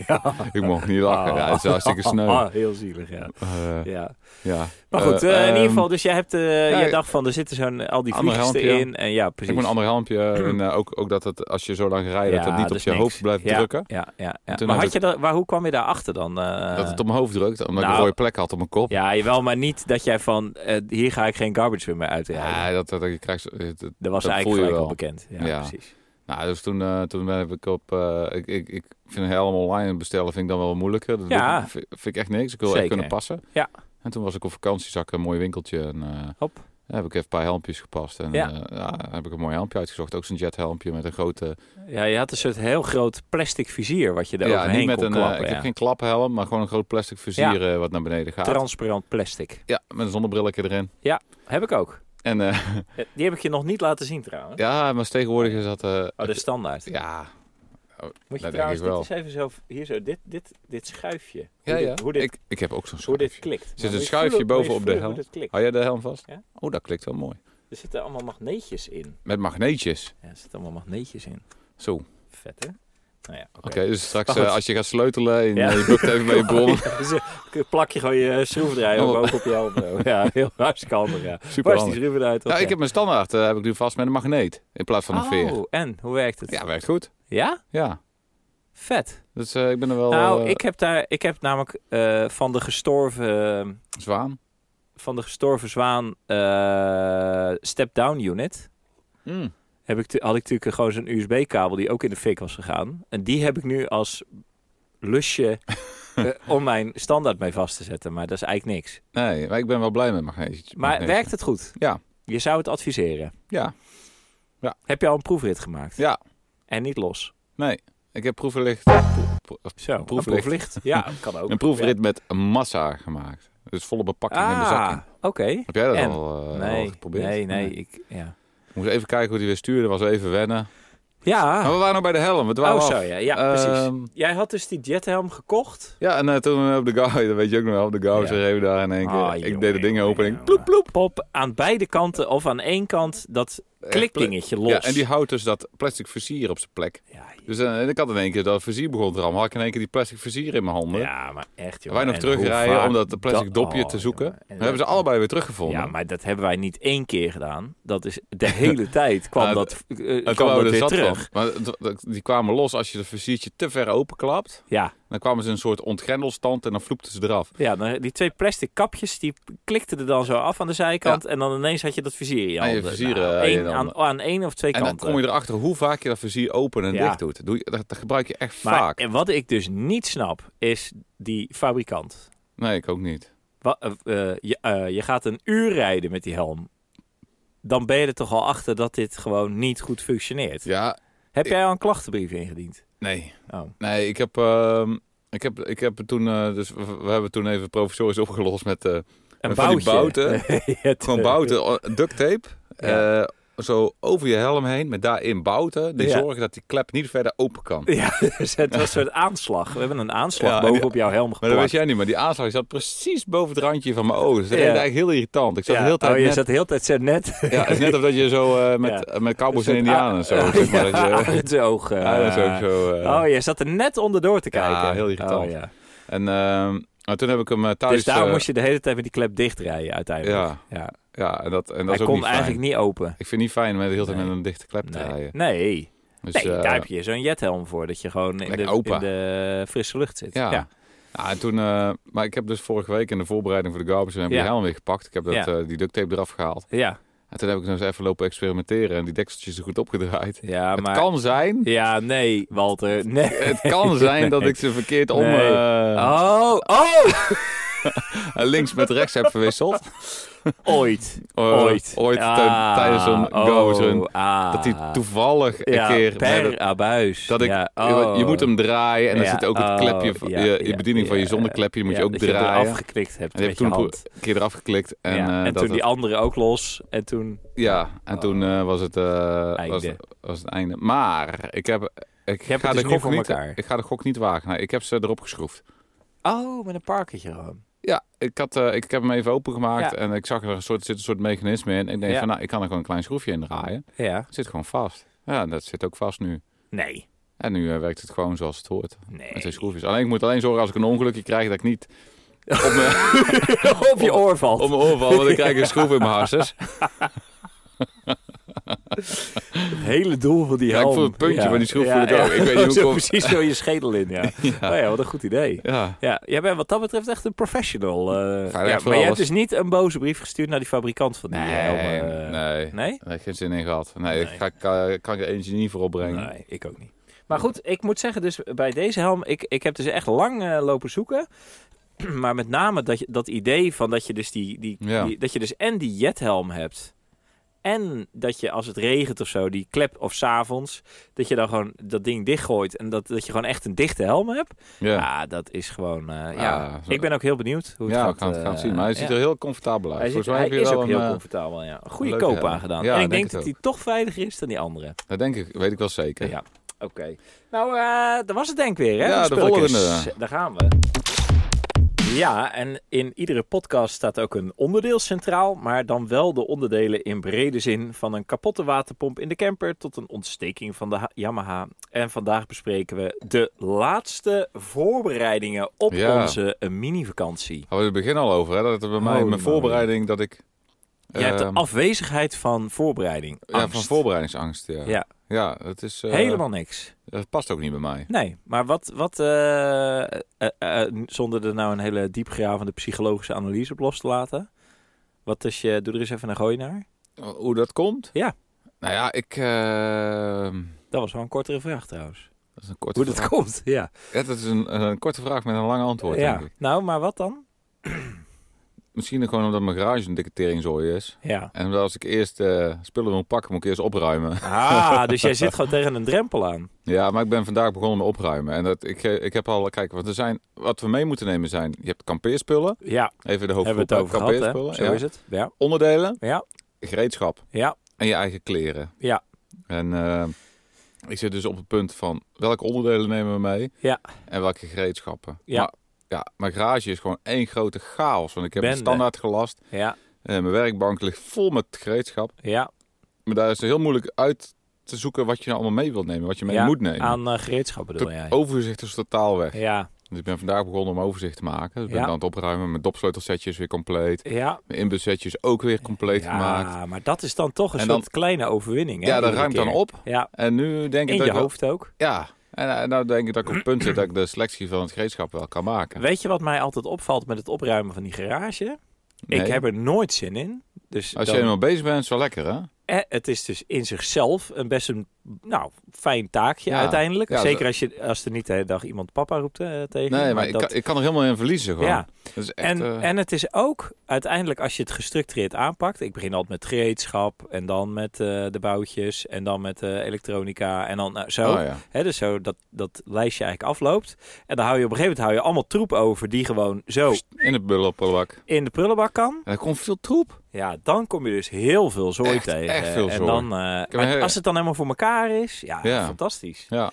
ja. ik mocht niet lachen. Ja, het is hartstikke sneu. Ah, heel zielig, ja. Eh, ja. ja. Maar goed, Eh, eh, in ieder ehm, geval, dus jij hebt eh ja, je dacht van, er zitten zo'n eh, al die ander vliegjes helmpje, ja. erin. En ja, precies. Ik moet een ander helmpje en eh, ook, ook dat het, als je zo lang rijdt, dat Ja, het niet op dus je niks. hoofd blijft Ja, drukken. Ja, ja, ja. toen Maar, had had je dat, waar, hoe kwam je daarachter dan? eh? dat het op mijn hoofd drukt, omdat ik nou, een rode plek had op mijn kop. Ja, jawel, maar niet dat jij van, eh, hier ga ik geen garbage weer meer uitrijden. Ja, dat, dat, je krijgt, zo- het- het- dat was Ah, dat eigenlijk voel je gelijk al wel. bekend. Ja, Ja. precies. nou, dus toen, eh, toen ben ik op... eh, ik, ik, ik vind een helm online bestellen vind ik dan wel moeilijker. Dat Ja. doe ik- vind, vind ik echt niks. Ik wil echt Zeker. kunnen passen. Ja. En toen was ik op vakantie, zag ik een mooi winkeltje. En eh, Hop. daar heb ik even een paar helmpjes gepast. En Ja. ja. ja, daar heb ik een mooi helmpje uitgezocht. Ook zo'n jethelmpje met een grote... Ja, je had een soort heel groot plastic vizier wat je er ja, overheen niet met kon een... eh, klappen. ik ja. heb geen klaphelm, maar gewoon een groot plastic vizier eh, wat naar beneden gaat. Transparant plastic. ja, met een zonnebrilletje erin. Heb ik ook. En eh, Eh, Die heb ik je nog niet laten zien trouwens. ja, maar tegenwoordig is dat... eh, Oh, de standaard. Ja, Moet je Dat trouwens denk dit ik eens even zo, hier zo, dit, dit, dit schuifje. Hoe ja, ja. dit- hoe dit, ik, ik heb ook zo'n hoe dit schuifje. klikt. een Maar moet je schuifje voelen- moet je bovenop de voelen helm? hoe dit klikt. Hou jij de helm vast? Ja. Oh, dat klikt wel mooi. Er zitten allemaal magneetjes in. Met magneetjes. Ja, er zitten allemaal magneetjes in. Zo. Oké, Vet hè? Nou ja, oké. dus straks Maar goed. eh, als je gaat sleutelen en Ja. eh, je bukt even bij je bron. Ja, dus, eh, plak je gewoon je schroefdraaier Oh. ook op je helm. zo. Ja, heel hartstikke handig. Ja. Super Waar is die handig. schroevendraaier uit? Ja, ik heb mijn standaard eh, heb ik nu vast met een magneet in plaats van een veer. Oh, en? Hoe werkt het? Ja, werkt goed. Ja? Ja. Vet. Dus eh, ik ben er wel nou, eh, ik heb, daar, ik heb namelijk eh, van de gestorven... zwaan. van de gestorven zwaan eh, step-down unit. Mm. Heb ik tu- had ik natuurlijk gewoon zo'n USB-kabel die ook in de fik was gegaan. En die heb ik nu als lusje eh, om mijn standaard mee vast te zetten. Maar dat is eigenlijk niks. Nee, maar ik ben wel blij met magneetjes. Maar magneetjes. werkt het goed? Ja. Je zou het adviseren. Ja. Heb je al een proefrit gemaakt? Ja. En niet los. Nee, ik heb proeflicht, pro- pro- Zo, een proeflicht. proeflicht. Oh, Ja, kan ook. een proefrit met massa gemaakt. Dus volle Ja. bepakking in de Ah, zakking. oké. Heb jij dat En? al, eh, al Nee, geprobeerd? nee, nee. Ik, ja. Ik moest even kijken hoe die weer stuurde. was wel even wennen. Ja. Maar we waren nog bij de helm. We dwalen Ah. oh, Oh, af. zo ja. Ja, precies. Ehm, Jij had dus die jethelm gekocht. ja, en eh, toen eh, op de guy, dat weet je ook nog wel, op de guy Ja. schreef daar in één keer. Ah, ik jongen, deed het ding jongen, open en ik jongen. ploep, ploep. Pop aan beide kanten of aan één kant dat klikdingetje los. Ja, en die houdt dus dat plastic versier op zijn plek. ja, Dus eh, ik had in één keer dat versier begon te rammen. Had ik in één keer die plastic versier in mijn handen. Ja, maar echt, joh. Wij nog terugrijden om dat plastic dopje oh, te zoeken. We We hebben ze allebei weer teruggevonden. Ja, maar dat hebben wij niet één keer gedaan. Dat is de hele tijd kwam Nou, dat, eh, En toen kwam dat waren we weer er zat terug. van. Maar het- het- die kwamen los als je het versiertje te ver openklapt. Ja, Dan kwamen ze in een soort ontgrendelstand en dan vloepten ze eraf. ja dan- die twee plastic kapjes die klikten er dan zo af aan de zijkant. En dan ineens had je dat vizier in je Aan je handen. vizier, Nou, eh, één- in je aan, handen. aan één of twee En dan kanten. kom je erachter hoe vaak je dat vizier open en Ja. dicht doet. Doe je, dat, dat gebruik je echt maar vaak. en wat ik dus niet snap, is die fabrikant. Nee, ik ook niet. Wa- eh, eh, je, eh, je gaat een uur rijden met die helm. Dan ben je er toch al achter dat dit gewoon niet goed functioneert. Ja, Heb jij al een klachtenbrief ingediend? nee. Oh. Nee, ik heb, ehm, ik heb, ik heb toen, eh, dus we, we hebben toen even provisorisch opgelost met eh, Een En van die boutje. Het, gewoon eh, bouten, oh, duct tape. Ja. eh, zo over je helm heen, met daarin bouten. Die Ja. zorgen dat die klep niet verder open kan. Ja, dus het was een soort aanslag. We hebben een aanslag Ja, en die- boven op jouw helm Maar dat geplakt. weet jij niet, maar die aanslag zat precies boven het randje van mijn ogen. Dus dat Ja. is eigenlijk heel irritant. Ik zat Ja, de hele tijd oh, je net, zat de hele tijd zo net. ja, het is net of dat je zo eh, met, met cowboys en indianen zo, zeg maar. Ja, Dat je, uit zijn ogen. ja, dat is ook zo. eh. Oh, je zat er net onderdoor te Ja, kijken. heel irritant. Oh, ja. En ehm, maar toen heb ik hem eh, thuis... Dus daarom eh, moest je de hele tijd met die klep dichtrijden uiteindelijk. Ja, Ja. ja en dat, en dat Hij is ook kon niet fijn. eigenlijk niet open. Ik vind het niet fijn om de hele tijd met een dichte klep te Nee, rijden. nee. Dus, nee eh, daar heb je zo'n jethelm voor. Dat je gewoon in lekker de, open. in de frisse lucht zit. Ja. Ja, en toen, eh, maar ik heb dus vorige week in de voorbereiding voor de Garbage heb ik Ja. die helm weer gepakt. Ik heb dat, Ja. eh, die duct tape eraf gehaald. ja. En toen heb ik nog eens even lopen experimenteren en die dekseltjes er goed opgedraaid. Ja, maar... Het kan zijn, Ja, nee, Walter. Nee. het kan zijn dat ik ze verkeerd om Nee. eh, Oh, oh! links met rechts heb verwisseld. Ooit. Eh, Ooit. Ooit Ah, tij- tijdens een Garbage Run. oh, ah. Dat die toevallig ja, een keer... per met het- abuis. dat ik, Ja, je, oh. je moet hem draaien en dan Ja, zit ook het oh, klepje, van- ja, je, je ja, bediening van je ja, zonneklepje, die moet je Ja, ook dat draaien. Je er afgeklikt hebt En die heb met ik je toen hand. een keer eraf geklikt. En, En, eh, en dat toen het- die andere ook los. En toen... Ja, en toen eh, was, het, eh was, Einde. was het einde. Maar ik heb. Ik hebt ga het dus de nu gok voor niet, elkaar. Ik ga de gok niet wagen. Nee, ik heb ze erop geschroefd. Oh, met een parketje gewoon. Ja, ik, had, eh, ik heb hem even opengemaakt Ja. en ik zag er een soort, zit een soort mechanisme in. En ik denk Ja. van, nou, ik kan er gewoon een klein schroefje in draaien. Ja. Het zit gewoon vast. Ja, dat zit ook vast nu. Nee. En nu eh, werkt het gewoon zoals het hoort. Met Nee. twee schroefjes. Alleen ik moet alleen zorgen als ik een ongelukje krijg dat ik niet op mijn, Op je oor valt. op mijn oor val, want ik krijg ik een schroef in mijn harses. Het hele doel van die Ja, ik helm. voel het puntje van die schroef voel ik ook. Ik weet niet Zo hoe ik op- precies door je schedel in, ja. Oh ja, wat een goed idee. Ja. Ja, jij bent wat dat betreft echt een professional. eh. voor ja, maar alles. jij hebt dus niet een boze brief gestuurd naar die fabrikant van die Nee, helm. eh. nee. nee? Nee, geen zin in gehad. Nee, Nee. Ik ga, kan, kan ik er eentje niet voor opbrengen. Nee, ik ook niet. Maar goed, ik moet zeggen, dus bij deze helm, ik, ik heb dus echt lang eh, lopen zoeken. Maar met name dat, je, dat idee van dat je dus die, die, Ja. die- dat je dus en die jethelm hebt. En dat je als het regent of zo, die klep of s'avonds, dat je dan gewoon dat ding dichtgooit. En dat, dat je gewoon echt een dichte helm hebt. Ja, Ja, dat is gewoon. eh, ja. Ja, zo- Ik ben ook heel benieuwd hoe het ja gaat. we gaan het, gaan het eh, zien. Maar hij ziet ja. er heel comfortabel uit. Hij, ziet- Volgens mij hij heb je is wel ook heel een, eh, comfortabel. Ja. Een goede leuke koop helm. aangedaan. Ja, en ik ik denk denk het dat die toch veiliger is dan die andere. Dat denk ik, weet ik wel zeker. Ja, oké. Nou, eh dat was het denk ik weer, hè? Ja, de de spulletjes. volgende. Daar gaan we. Ja, en in iedere podcast staat ook een onderdeel centraal, maar dan wel de onderdelen in brede zin. Van een kapotte waterpomp in de camper tot een ontsteking van de Ha- Yamaha. En vandaag bespreken we de laatste voorbereidingen op Ja. onze eh, mini-vakantie. Hadden we het begin al over, hè? Dat het bij mij, Holy mijn moly. voorbereiding, dat ik... Jij hebt de ehm, afwezigheid van voorbereiding. Ja, van angst. voorbereidingsangst, ja. Ja. Ja, dat is... eh, Helemaal niks. Dat past ook niet bij mij. Nee, maar wat, wat eh, eh, eh, zonder er nou een hele diepgravende psychologische analyse op los te laten. Wat is je, doe er eens even een gooi naar. Hoe dat komt? Ja. Nou ja, ik... ehm, Dat was wel een kortere vraag trouwens. dat is een korte Hoe dat vraag. komt, ja. Ja, dat is een, een korte vraag met een lang antwoord, ja. denk ik. Nou, maar wat dan? Misschien gewoon omdat mijn garage een dikke teringzooi is. Ja. En omdat als ik eerst eh, spullen wil pakken, moet ik eerst opruimen. Ah, dus jij zit gewoon tegen een drempel aan. Ja, maar ik ben vandaag begonnen met opruimen. En dat, ik, eh, ik heb al, kijk, want er zijn, wat we mee moeten nemen zijn, je hebt kampeerspullen. Ja, Even de hebben we hoofdgroep het over gehad, hè? kampeerspullen. Zo ja. is het. Ja, Onderdelen, ja, gereedschap ja. en je eigen kleren. Ja. En eh, Ik zit dus op het punt van welke onderdelen nemen we mee Ja. en welke gereedschappen. Ja. Maar, ja, mijn garage is gewoon één grote chaos. Want ik heb Bende. een standaard gelast. Ja, En mijn werkbank ligt vol met gereedschap. ja. Maar daar is het heel moeilijk uit te zoeken wat je nou allemaal mee wilt nemen. Wat je mee ja. moet nemen. Aan eh, gereedschappen bedoel Het jij. overzicht is totaal weg. Ja, Dus ik ben vandaag begonnen om overzicht te maken. Dus ik ben Ja. aan het opruimen. Mijn dopsleutelsetje is weer compleet. ja. Mijn inbussetje is ook weer compleet ja, gemaakt. maar dat is dan toch een En dan- soort kleine overwinning. Hè, Ja, dat iedere ruimt dan keer. op. Ja, En nu denk ik in dat je ik wel- hoofd ook. Ja, en, en nou denk ik dat ik op het punt zit dat ik de selectie van het gereedschap wel kan maken. Weet je wat mij altijd opvalt met het opruimen van die garage? Ik Nee. heb er nooit zin in. Dus Als dan- je helemaal bezig bent, is het wel lekker, hè? eh, het is dus in zichzelf een best een nou, fijn taakje Ja. uiteindelijk. Ja, Zeker als, je, als er niet de hele dag iemand papa roept eh, tegen. je, Nee, maar ik, dat- kan, ik kan er helemaal in verliezen gewoon. Ja. Dat is echt, En, eh, en het is ook uiteindelijk als je het gestructureerd aanpakt. Ik begin altijd met gereedschap en dan met eh, de boutjes en dan met eh, elektronica en dan nou, zo. oh ja. Hè, dus zo dat, dat lijstje eigenlijk afloopt. En dan hou je op een gegeven moment hou je allemaal troep over die gewoon zo In het bullopperbak. in de prullenbak kan. En er komt veel troep. Ja, dan kom je dus heel veel zooi Echt, tegen. echt veel En zooi. dan, eh, heb maar een hele- als het dan helemaal voor elkaar is, ja, Ja. fantastisch. Ja.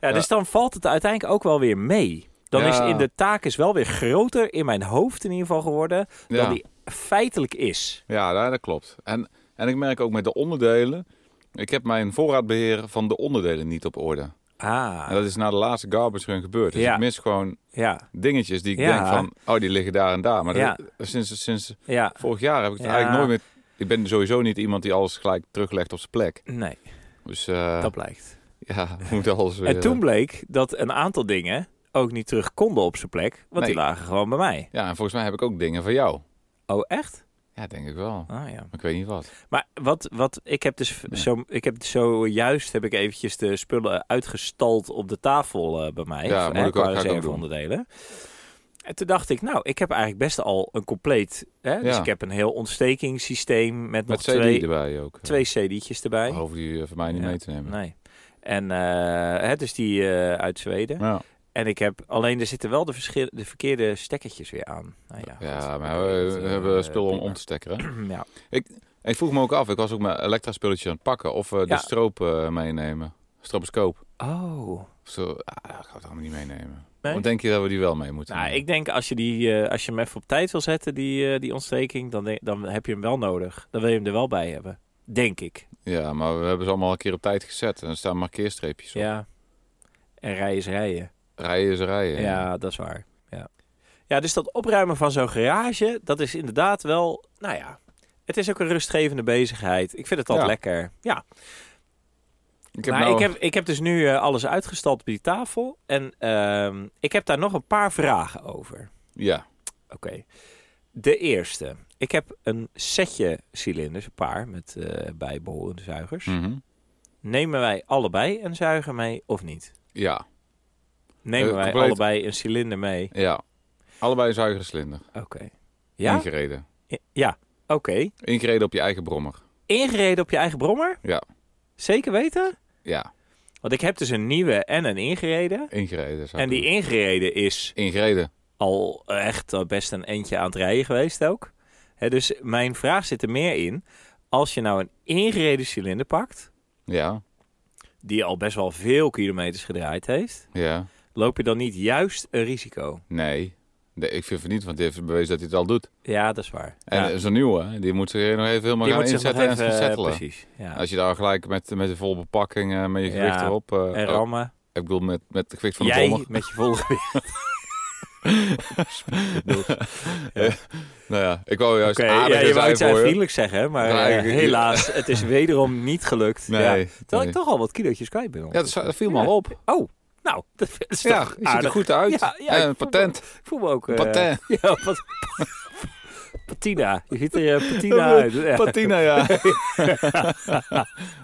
Ja, dus dan valt het uiteindelijk ook wel weer mee. Dan Ja. is in de taak is wel weer groter in mijn hoofd in ieder geval geworden Ja, dan die feitelijk is. ja dat, dat klopt. En, en ik merk ook met de onderdelen. Ik heb mijn voorraadbeheer van de onderdelen niet op orde. Ah, En dat is na de laatste garbage run gebeurd. Dus Ja. ik mis gewoon ja, dingetjes die ik Ja. denk van... Oh, die liggen daar en daar. Maar Ja. dat, sinds, sinds ja. vorig jaar heb ik het Ja. eigenlijk nooit meer... Ik ben sowieso niet iemand die alles gelijk teruglegt op zijn plek. Nee, Dus eh, dat blijkt. ja, moet alles weer... En toen bleek dat een aantal dingen ook niet terug konden op zijn plek, want die Nee. lagen gewoon bij mij. Ja, en volgens mij heb ik ook dingen van jou. Oh, echt? Ja, denk ik wel. Ah ja. Maar ik weet niet wat. Maar wat, wat ik heb dus v- Ja. zo, ik heb zojuist heb ik eventjes de spullen uitgestald op de tafel eh, bij mij. Ja, Of, moet hè, ik ook, qua ga ik ook doen. reserveonderdelen. En toen dacht ik, nou, ik heb eigenlijk best al een compleet. Hè? Dus Ja. ik heb een heel ontstekingssysteem met, nog Met CD twee, erbij ook. twee cd'tjes erbij. Eh, Hoef die eh, van mij niet Ja. mee te nemen. Nee. En eh, hè, dus die eh, uit Zweden. Ja, En ik heb alleen er zitten wel de, verschil, de verkeerde stekkertjes weer aan. Nou ja, ja goed. maar we, we Dat, eh, hebben spullen om prima. om te stekken. Hè? Ja. En Ik vroeg me ook af, ik was ook mijn elektra-spulletje aan het pakken. Of we Ja. de stroop eh, meenemen. Stroboscoop. Oh. Of Zo, ah, ik ga het allemaal niet meenemen. Nee? Wat denk je dat we die wel mee moeten Nou, nemen? ik denk als je, die, eh, als je hem even op tijd wil zetten, die, eh, die ontsteking, dan, denk- dan heb je hem wel nodig. Dan wil je hem er wel bij hebben. Denk ik. Ja, maar we hebben ze allemaal een keer op tijd gezet. En er staan markeerstreepjes op. Ja. En rijden is rijden. Rijden is rijden. Ja, dat is waar. Ja. ja, dus dat opruimen van zo'n garage, dat is inderdaad wel, nou ja, het is ook een rustgevende bezigheid. Ik vind het altijd Ja. lekker. Ja, Ik heb maar nou- ik, heb, ik heb dus nu eh, alles uitgestald op die tafel. En ehm, ik heb daar nog een paar vragen over. Ja, Oké. De eerste. Ik heb een setje cilinders, een paar, met eh bijbehorende zuigers. mhm. Nemen wij allebei een zuiger mee of niet? ja, Nemen Eh, wij compleet. allebei een cilinder mee? ja. Allebei een zuigere slinder. Oké. Ja? Ingereden. I- Ja, oké. Ingereden op je eigen brommer. Ingereden op je eigen brommer? Ja. Zeker weten? Ja, Want ik heb dus een nieuwe en een ingereden. ingereden. zou En ik die doen. ingereden is ingereden. al echt eh, best een eindje aan het rijden geweest ook. Hè, dus mijn vraag zit er meer in. Als je nou een ingereden cilinder pakt, Ja, die al best wel veel kilometers gedraaid heeft, ja. loop je dan niet juist een risico? Nee. nee ik vind het niet, want die heeft bewezen dat hij het al doet. Ja, dat is waar. En ja. zo'n nieuwe, die moet zich nog even helemaal Die gaan moet zich nog inzetten en even, eh, gaan settelen. precies. Ja. Als je daar gelijk met, met de volle bepakking, eh, met je gewicht Ja, erop... eh, en oh, rammen. ik bedoel, met, met het gewicht van de Jij brommer. met je volle gewicht. Nou ja, ik wou juist Oké, aardig ja, je wou zijn iets voor je. vriendelijk zeggen, maar Ja, eh, ik- helaas, het is wederom niet gelukt. Nee, Ja. nee. Terwijl ik toch al wat kilootjes kwijt ben. Ja, dat zou- dat viel me Ja. al op. Oh, nou, dat is toch Ja, je ziet er aardig. goed uit. Ja, ja, Eh, ik een voel me- patent. Ik voel me ook... eh, Patent. Ja, pat- patina. Je ziet er eh, patina uit. Ja. Patina, ja.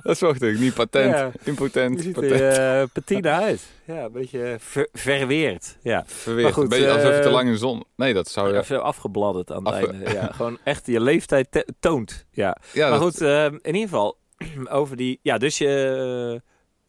dat zocht ik. Niet patent. Ja. Je Impotent. ziet Patent. er eh, patina uit. Ja, een beetje eh, ver- verweerd. Ja. Verweerd. Maar goed, Een beetje alsof je te eh, lang in de zon... Nee, dat zou... Oh, Ja, Even afgebladderd aan het Afge- einde. Ja, gewoon echt je leeftijd te- toont. Ja. ja maar dat- goed, eh, in ieder geval over die... Ja, dus je...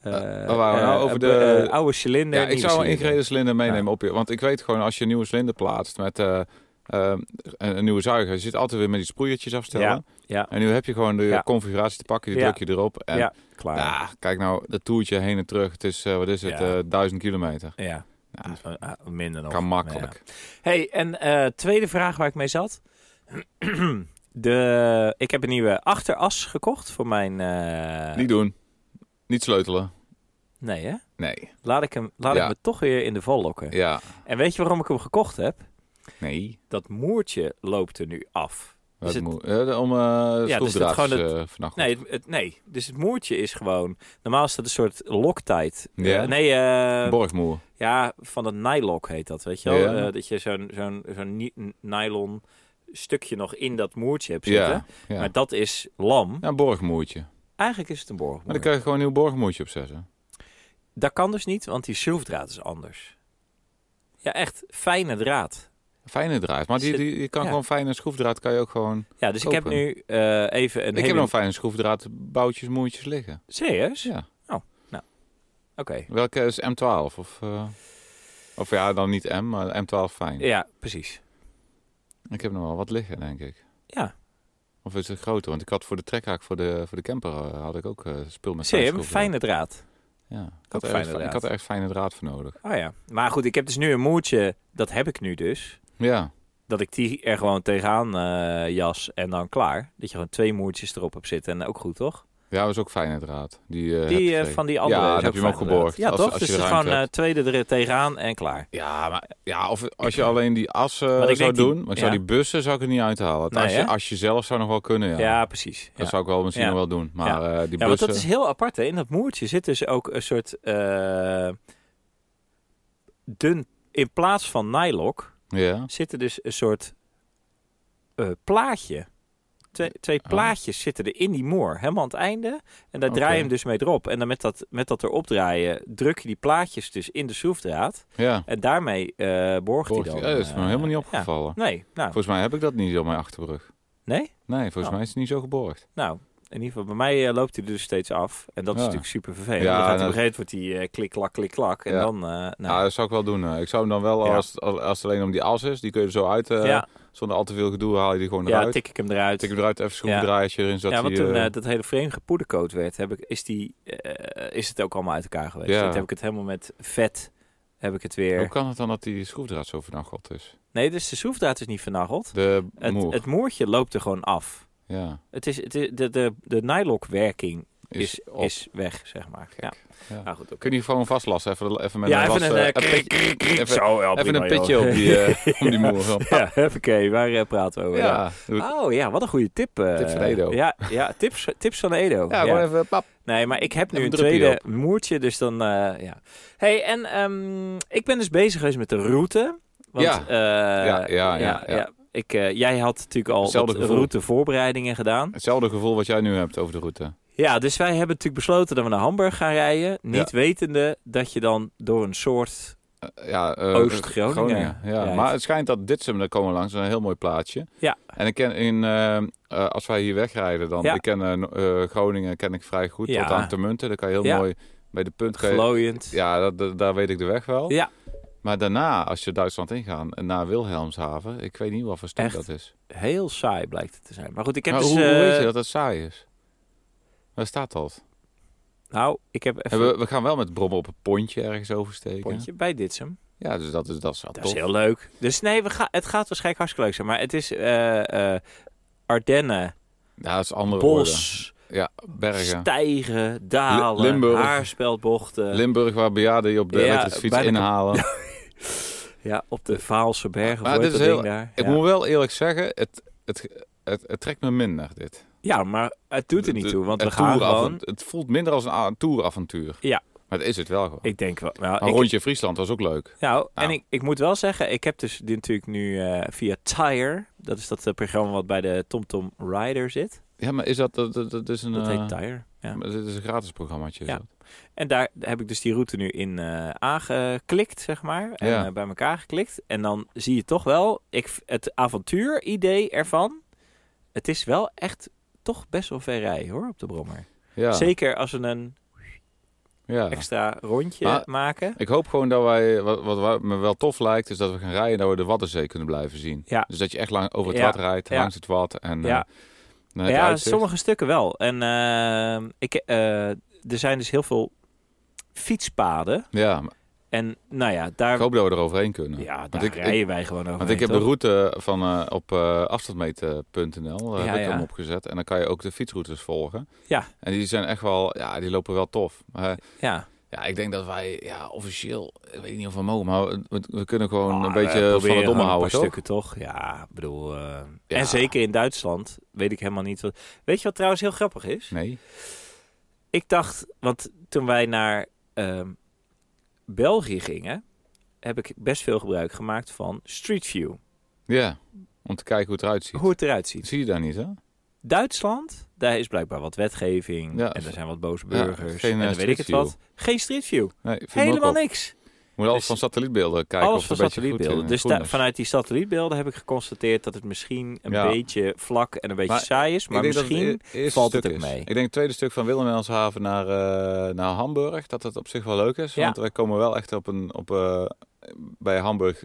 eh, Eh, waar waren we eh, nou? Over eh, de- eh, oude cilinder. Ja, ik nieuwe zou een cilinder. ingereden slinder meenemen op je. Want ik weet gewoon, als je een nieuwe slinder plaatst met eh, eh, een, een nieuwe zuiger. Je zit altijd weer met die sproeiertjes afstellen. Ja, ja. En nu heb je gewoon de Ja. configuratie te pakken, die Ja. druk je erop. En ja, klaar. ja, kijk nou, dat toertje heen en terug. Het is, eh, wat is Ja. het, eh, 1000 kilometer. Ja. Ja. Eh, eh, minder nog. Kan makkelijk. Hey, en eh, tweede vraag waar ik mee zat. De, ik heb een nieuwe achteras gekocht voor mijn... eh, Niet doen. Niet sleutelen. Nee, hè? Nee. Laat ik hem, laat Ja. ik me toch weer in de val lokken. Ja. En weet je waarom ik hem gekocht heb? Nee. Dat moertje loopt er nu af. Wat het- moe- eh, om eh Ja, dus dat schroefdraadjes, gewoon eh, vannacht. Nee, het, het- nee, dus het moertje is gewoon... Normaal is dat een soort loktijd. Ja. Eh, nee, eh, Borgmoer. ja, van dat nylok heet dat, weet je wel? Ja. Eh, dat je zo'n zo'n zo'n ni- nylon stukje nog in dat moertje hebt zitten. Ja. Ja. Maar dat is lam. ja, een borgmoertje. Eigenlijk is het een borg. Maar dan kan je gewoon een nieuw borgmoertje opzetten. Dat kan dus niet, want die schroefdraad is anders. Ja, echt fijne draad. Fijne draad. Maar die, Zit- die, je kan ja. gewoon fijne schroefdraad kan je ook gewoon... Ja, dus ik heb Kopen. nu eh, even een ik heb hele... nog fijne schroefdraad boutjes, moertjes liggen. Serieus? Oh, nou. Ja. Oké. Welke is M12? Of, eh, of ja, dan niet M, maar M12 fijn. Ja, precies. Ik heb nog wel wat liggen, denk ik. Ja. Of is het groter? Want ik had voor de trekhaak voor de, voor de camper eh, had ik ook eh, spul met Zie je hem? fijne Fijne draad. Ja. Ik had, Ook er fijne echt, ik draad. had er echt fijne draad voor nodig. Oh ja. Maar goed, ik heb dus nu een moertje. Dat heb ik nu dus. Ja. Dat ik die er gewoon tegenaan eh, jas en dan klaar. Dat je gewoon twee moertjes erop hebt zitten. En ook goed, toch? Ja, was ook fijne draad. Die, eh, heb die je eh, twee. van die andere. Ja, is dan heb je hem ook fijn draad. geborgd. Ja, Als- toch? als je dus het is ruimte gewoon eh, tweede er tegenaan en klaar. Ja, maar ja, of als je alleen die as eh, ik zou denk die- doen, maar ik zou ja. die bussen zou ik er niet uithalen. Nee, als, je, hè? als je zelf zou nog wel kunnen, ja. Ja, precies. Dat Ja. zou ik wel misschien Ja. nog wel doen. Maar eh, die Ja, want bussen... dat is heel apart. Hè? In dat moertje zit dus ook een soort eh, dun. In plaats van nylok Ja. zit er dus een soort eh, plaatje. Twee, twee Oh. plaatjes zitten er in die moer, helemaal aan het einde. En daar draai Oké. je hem dus mee erop. En dan met dat, met dat erop draaien, druk je die plaatjes dus in de schroefdraad. Ja. En daarmee eh borgt hij Borgt- dan. ja, dat is me eh, helemaal niet ja. opgevallen. Nee, nou, Volgens mij heb ik dat niet op mijn achterbrug. nee? Nee, volgens Oh. mij is het niet zo geborgd. Nou, in ieder geval, bij mij eh, loopt hij er dus steeds af. En dat is Ja. natuurlijk super vervelend. Ja, dan gaat hij nou, op een gegeven moment die eh, klik, klak, klik, klak. En Ja. dan, eh, nou, Ja, dat zou ik wel doen. eh. Ik zou hem dan wel, Ja. als, als, als het alleen om die as is, die kun je er zo uit... eh, ja, Zonder al te veel gedoe haal je die gewoon ja eruit. tik ik hem eruit. tik hem eruit, even schroevendraaiertje erin. Zodat ja, want die, toen eh, eh, dat hele frame gepoedercoat werd, heb ik, is, die, eh, is het ook allemaal uit elkaar geweest. Ja. Toen heb ik het helemaal met vet, heb ik het weer... Hoe kan het dan dat die schroefdraad zo vernacheld is? Nee, dus de schroefdraad is niet vernageld. De Het, moer. het moertje loopt er gewoon af. ja. Het is, het is- de, de, de nylokwerking Is, is, is, op. weg, zeg maar. Ja. Ja. Nou goed, oké. Kun je die gewoon vastlassen? Even, even met ja, een even was, een, eh, eh, pitje- krik, krik, krik, even- zo, ja, even prima, een joh. pitje op die, eh, om die moer. Zo. Ja, oké, waar eh, praten we over? Ja. Ja, doe ik. Oh ja, wat een goede tip. eh. Tip van Edo. Ja, ja tips, tips van Edo. ja, gewoon even pap. Nee, maar ik heb nu Even een een druppie tweede moertje, dus dan... eh, ja. hey, en ehm, ik ben dus bezig geweest met de route. Want, Ja. eh, Ja, ja, ja, ja. Ik, eh, jij had natuurlijk al Hetzelfde wat gevoel. routevoorbereidingen gedaan. Hetzelfde gevoel wat jij nu hebt over de route. Ja, dus wij hebben natuurlijk besloten dat we naar Hamburg gaan rijden. Niet wetende dat je dan door een soort... Eh, Ja, eh, Oost-Groningen. Ja. Ja, maar het- het schijnt dat dit daar komen we langs, een heel mooi plaatsje. Ja. En ik ken in, eh, eh, als wij hier wegrijden, dan Ja. ik ken eh, no- eh, Groningen ken ik vrij goed. Ja. Tot aan Termunten, daar kan je heel Ja. mooi bij de punt. kan je- glooiend. Ja, dat, dat- daar weet ik de weg wel. Ja. Maar daarna, als je Duitsland ingaan, en naar Wilhelmshaven, ik weet niet wat voor stuk Echt? dat is. Heel saai blijkt het te zijn. Maar goed, ik heb Maar dus... Nou, hoe, hoe eh, weet je dat het saai is? Waar staat dat? Nou, ik heb En even we, een we gaan wel met brommen op een pontje ergens oversteken. pontje bij Ditsum. Ja, dus dat is, dat is wel Dat tof. is heel leuk. Dus nee, we gaan. het gaat waarschijnlijk hartstikke leuk zijn. Maar het is eh, eh, Ardennen, Ja, dat is andere bos, orde. Ja, bergen. stijgen, dalen, Li- Limburg. haarspeldbochten. Limburg, waar bejaarden je op de Ja, elektrische fiets bijna- inhalen. ja, op de Vaalse bergen. Maar Maar dit dat is ding heel- daar. Ik ja. moet wel eerlijk zeggen, het, het, het, het trekt me minder, dit. ja, maar het doet er niet De- toe. Want het we gaan toerava- gewoon... Het voelt minder als een a- een touravontuur. Ja. Maar dat is het wel gewoon. Ik denk wel... Nou, Maar ik, rondje Friesland was ook leuk. nou, en Nou. ik, ik moet wel zeggen, ik heb dus dit natuurlijk nu eh, via Tire. Dat is dat eh, programma wat bij de TomTom Rider zit. Ja, maar is dat... Dat, dat, dat is een... Dat eh, heet Tire. Ja. maar Dit is een gratis programmaatje. is Ja. dat? En daar heb ik dus die route nu in eh, aangeklikt, zeg maar. En Ja. eh, bij elkaar geklikt. En dan zie je toch wel ik, v- het avontuur-idee ervan. Het is wel echt toch best wel ver rijden hoor, op de Brommer. Ja. Zeker als we een Ja. extra rondje Maar- maken. Ik hoop gewoon dat wij, wat, wat, wa- me wel tof lijkt, is dat we gaan rijden en dat we de Waddenzee kunnen blijven zien. Ja. Dus dat je echt lang over het Ja, wat rijdt, ja. langs het wat. En, Ja. ja. dan heb je Ja, uitzicht. sommige stukken wel. En eh, ik, eh, er zijn dus heel veel fietspaden. Ja, maar En nou ja, daar, ik hoop dat we er overheen kunnen. ja, daar want ik, rijden ik, wij gewoon over. want ik heb de route van, eh, op eh afstandmeten.nl eh, Ja, heb ik ja. hem opgezet. En dan kan je ook de fietsroutes volgen. Ja. En die zijn echt wel, ja, die lopen wel tof. Maar, eh, Ja, ja, ik denk dat wij, ja, officieel, ik weet niet of we mogen, maar we, we- we kunnen gewoon Maar een Ah, we beetje van proberen het domme gewoon houden, Een paar toch? stukken toch? Ja, ik bedoel. eh, Ja. En zeker in Duitsland weet ik helemaal niet wat. Weet je wat trouwens heel grappig is? Nee. Ik dacht, want toen wij naar ehm, België gingen, heb ik best veel gebruik gemaakt van Street View. Ja, om te kijken hoe het eruit ziet. Hoe het eruit ziet. Zie je daar niet, hè? Duitsland, daar is blijkbaar wat wetgeving Ja. en er zijn wat boze Ja, burgers geen, en eh, dan weet ik het Street View. wat. Geen Street View. Nee, viel me ook Helemaal op. niks. Moet alles Dus- van satellietbeelden kijken Alles of van het een beetje goed satellietbeelden. in- Dus groen da- is. vanuit die satellietbeelden heb ik geconstateerd dat het misschien een Ja. beetje vlak en een beetje Maar saai is. Maar ik denk dat het misschien... e- eerste valt stuk het ook is. mee. Ik denk het tweede stuk van Wilhelmshaven naar, eh, naar Hamburg, dat dat op zich wel leuk is. Ja. Want wij komen wel echt op een, op, eh, bij Hamburg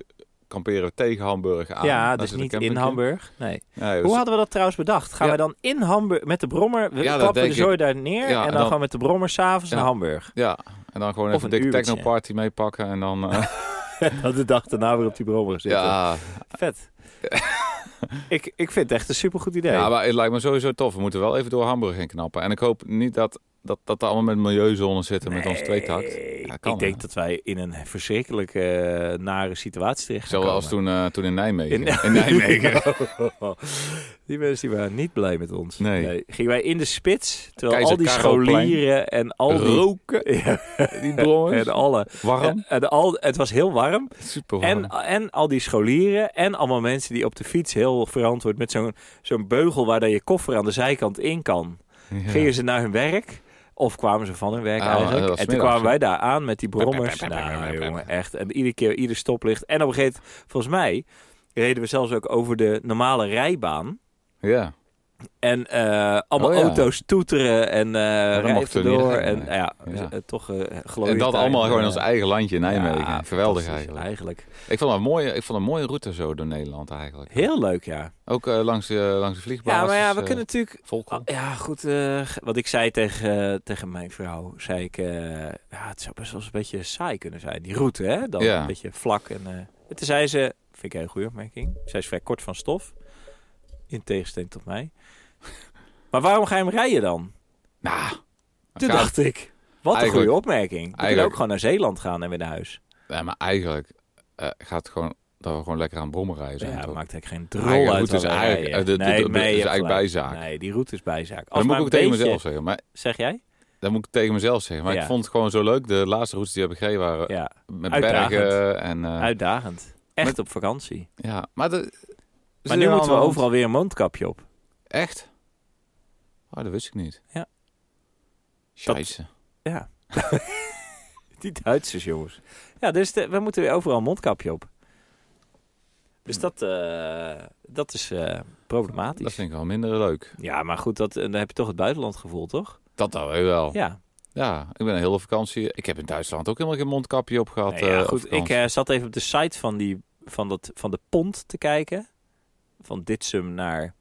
kamperen we tegen Hamburg aan. ja, Daar dus zit Ah, een niet in campingje. Hamburg. Nee. Nee, dus- Hoe hadden we dat trouwens bedacht? Gaan Ja. we dan in Hamburg met de brommer, we Ja, dat klappen de denk zooi daar neer Ja, en en dan, dan- gaan we met de brommer s'avonds Ja. naar Hamburg. Ja, en dan gewoon Of even een een dikke uurtje. technoparty meepakken en dan... eh, Dat de dag daarna weer op die brommer zitten. ja, Vet. ik, ik vind het echt een supergoed idee. ja, maar het lijkt me sowieso tof. We moeten wel even door Hamburg heen knappen. En ik hoop niet dat dat, dat er allemaal met milieuzones zitten met ons tweetakt. Nee, Ja, kan, ik denk hè? dat wij in een verschrikkelijk eh, nare situatie terecht gaan Zoals komen. toen, eh, toen in Nijmegen. In- In, Nijmegen. die mensen die waren niet blij met ons. Nee. Gingen wij in de spits, terwijl Keizer al die Karelplein. scholieren en al die... Roken. Ja, Die brommers. en alle. Warm. En, en al, het was heel warm. Super warm. En, en al die scholieren en allemaal mensen die op de fiets heel verantwoord met zo'n zo'n beugel waar dan je koffer aan de zijkant in kan. Ja. Gingen ze naar hun werk? Of kwamen ze van hun werk Ah, dat eigenlijk? was En toen middags, kwamen hè? wij daar aan met die brommers. Pep, pep, pep, pep, Nou, pep, pep. jongen, echt. En iedere keer, ieder stoplicht. En op een gegeven moment, volgens mij, reden we zelfs ook over de normale rijbaan. Ja. En eh, allemaal Oh, ja. auto's toeteren en eh dat rijden mochten we niet door. rijden, En nee. ja, Ja. dus, eh, toch eh glooiend. En dat allemaal gewoon in ons eh, Ja, eigen landje in Nijmegen. Geweldig fantastisch, eigenlijk. eigenlijk. Ik vond, het een mooie, ik vond het een mooie route zo door Nederland eigenlijk. Heel leuk, ja. Ook eh, langs, de langs de vliegbasis. Ja, maar ja, we eh, kunnen natuurlijk Volkel. Ah, Ja, goed. eh, wat ik zei tegen, eh, tegen mijn vrouw, zei ik, eh, ja, het zou best wel eens een beetje saai kunnen zijn, die route, hè? Dan Ja. een beetje vlak. En, eh, en toen zei ze, vind ik een hele goede opmerking, zij is vrij kort van stof, in tegenstelling tot mij. maar waarom ga je hem rijden dan? Nou, Toen gaat- dacht ik, wat een Eigenlijk- goede opmerking. We kunnen eigenlijk- ook gewoon naar Zeeland gaan en weer naar huis. nee, maar eigenlijk eh, gaat het gewoon dat we gewoon lekker aan brommen rijden. Ja, zijn, het toch? maakt eigenlijk geen drol Eigen uit route waar is we eigenlijk- rijden. eh, dit- dit- Nee, dit nee, is je hebt eigenlijk gelijk. bijzaak. Nee, die route is bijzaak. Als dat moet maar ik een ook tegen beetje- mezelf zeggen. Maar Zeg jij? dat moet ik tegen mezelf zeggen. Maar Ja. ik vond het gewoon zo leuk. De laatste routes die we hebben gereden waren Ja, met Uitdagend. bergen. En, eh, uitdagend. Echt Met- op vakantie. ja. Maar, de, Maar nu moeten we overal overal weer een mondkapje op. Echt? Oh, dat wist ik niet. Ja. Scheisse. Ja. Die Duitsers, jongens. Ja, dus de- we moeten weer overal een mondkapje op. Dus dat, eh, dat is eh, problematisch. Dat vind ik wel minder leuk. Ja, maar goed, dat, eh, dan heb je toch het buitenlandgevoel, toch? Dat dan weer wel. Ja. Ja. ik ben een hele vakantie. Ik heb in Duitsland ook helemaal geen mondkapje op gehad. Nee, ja, eh, op goed, ik vakantie. eh, zat even op de site van, die, van, dat, van de pont te kijken. Van Ditsum naar...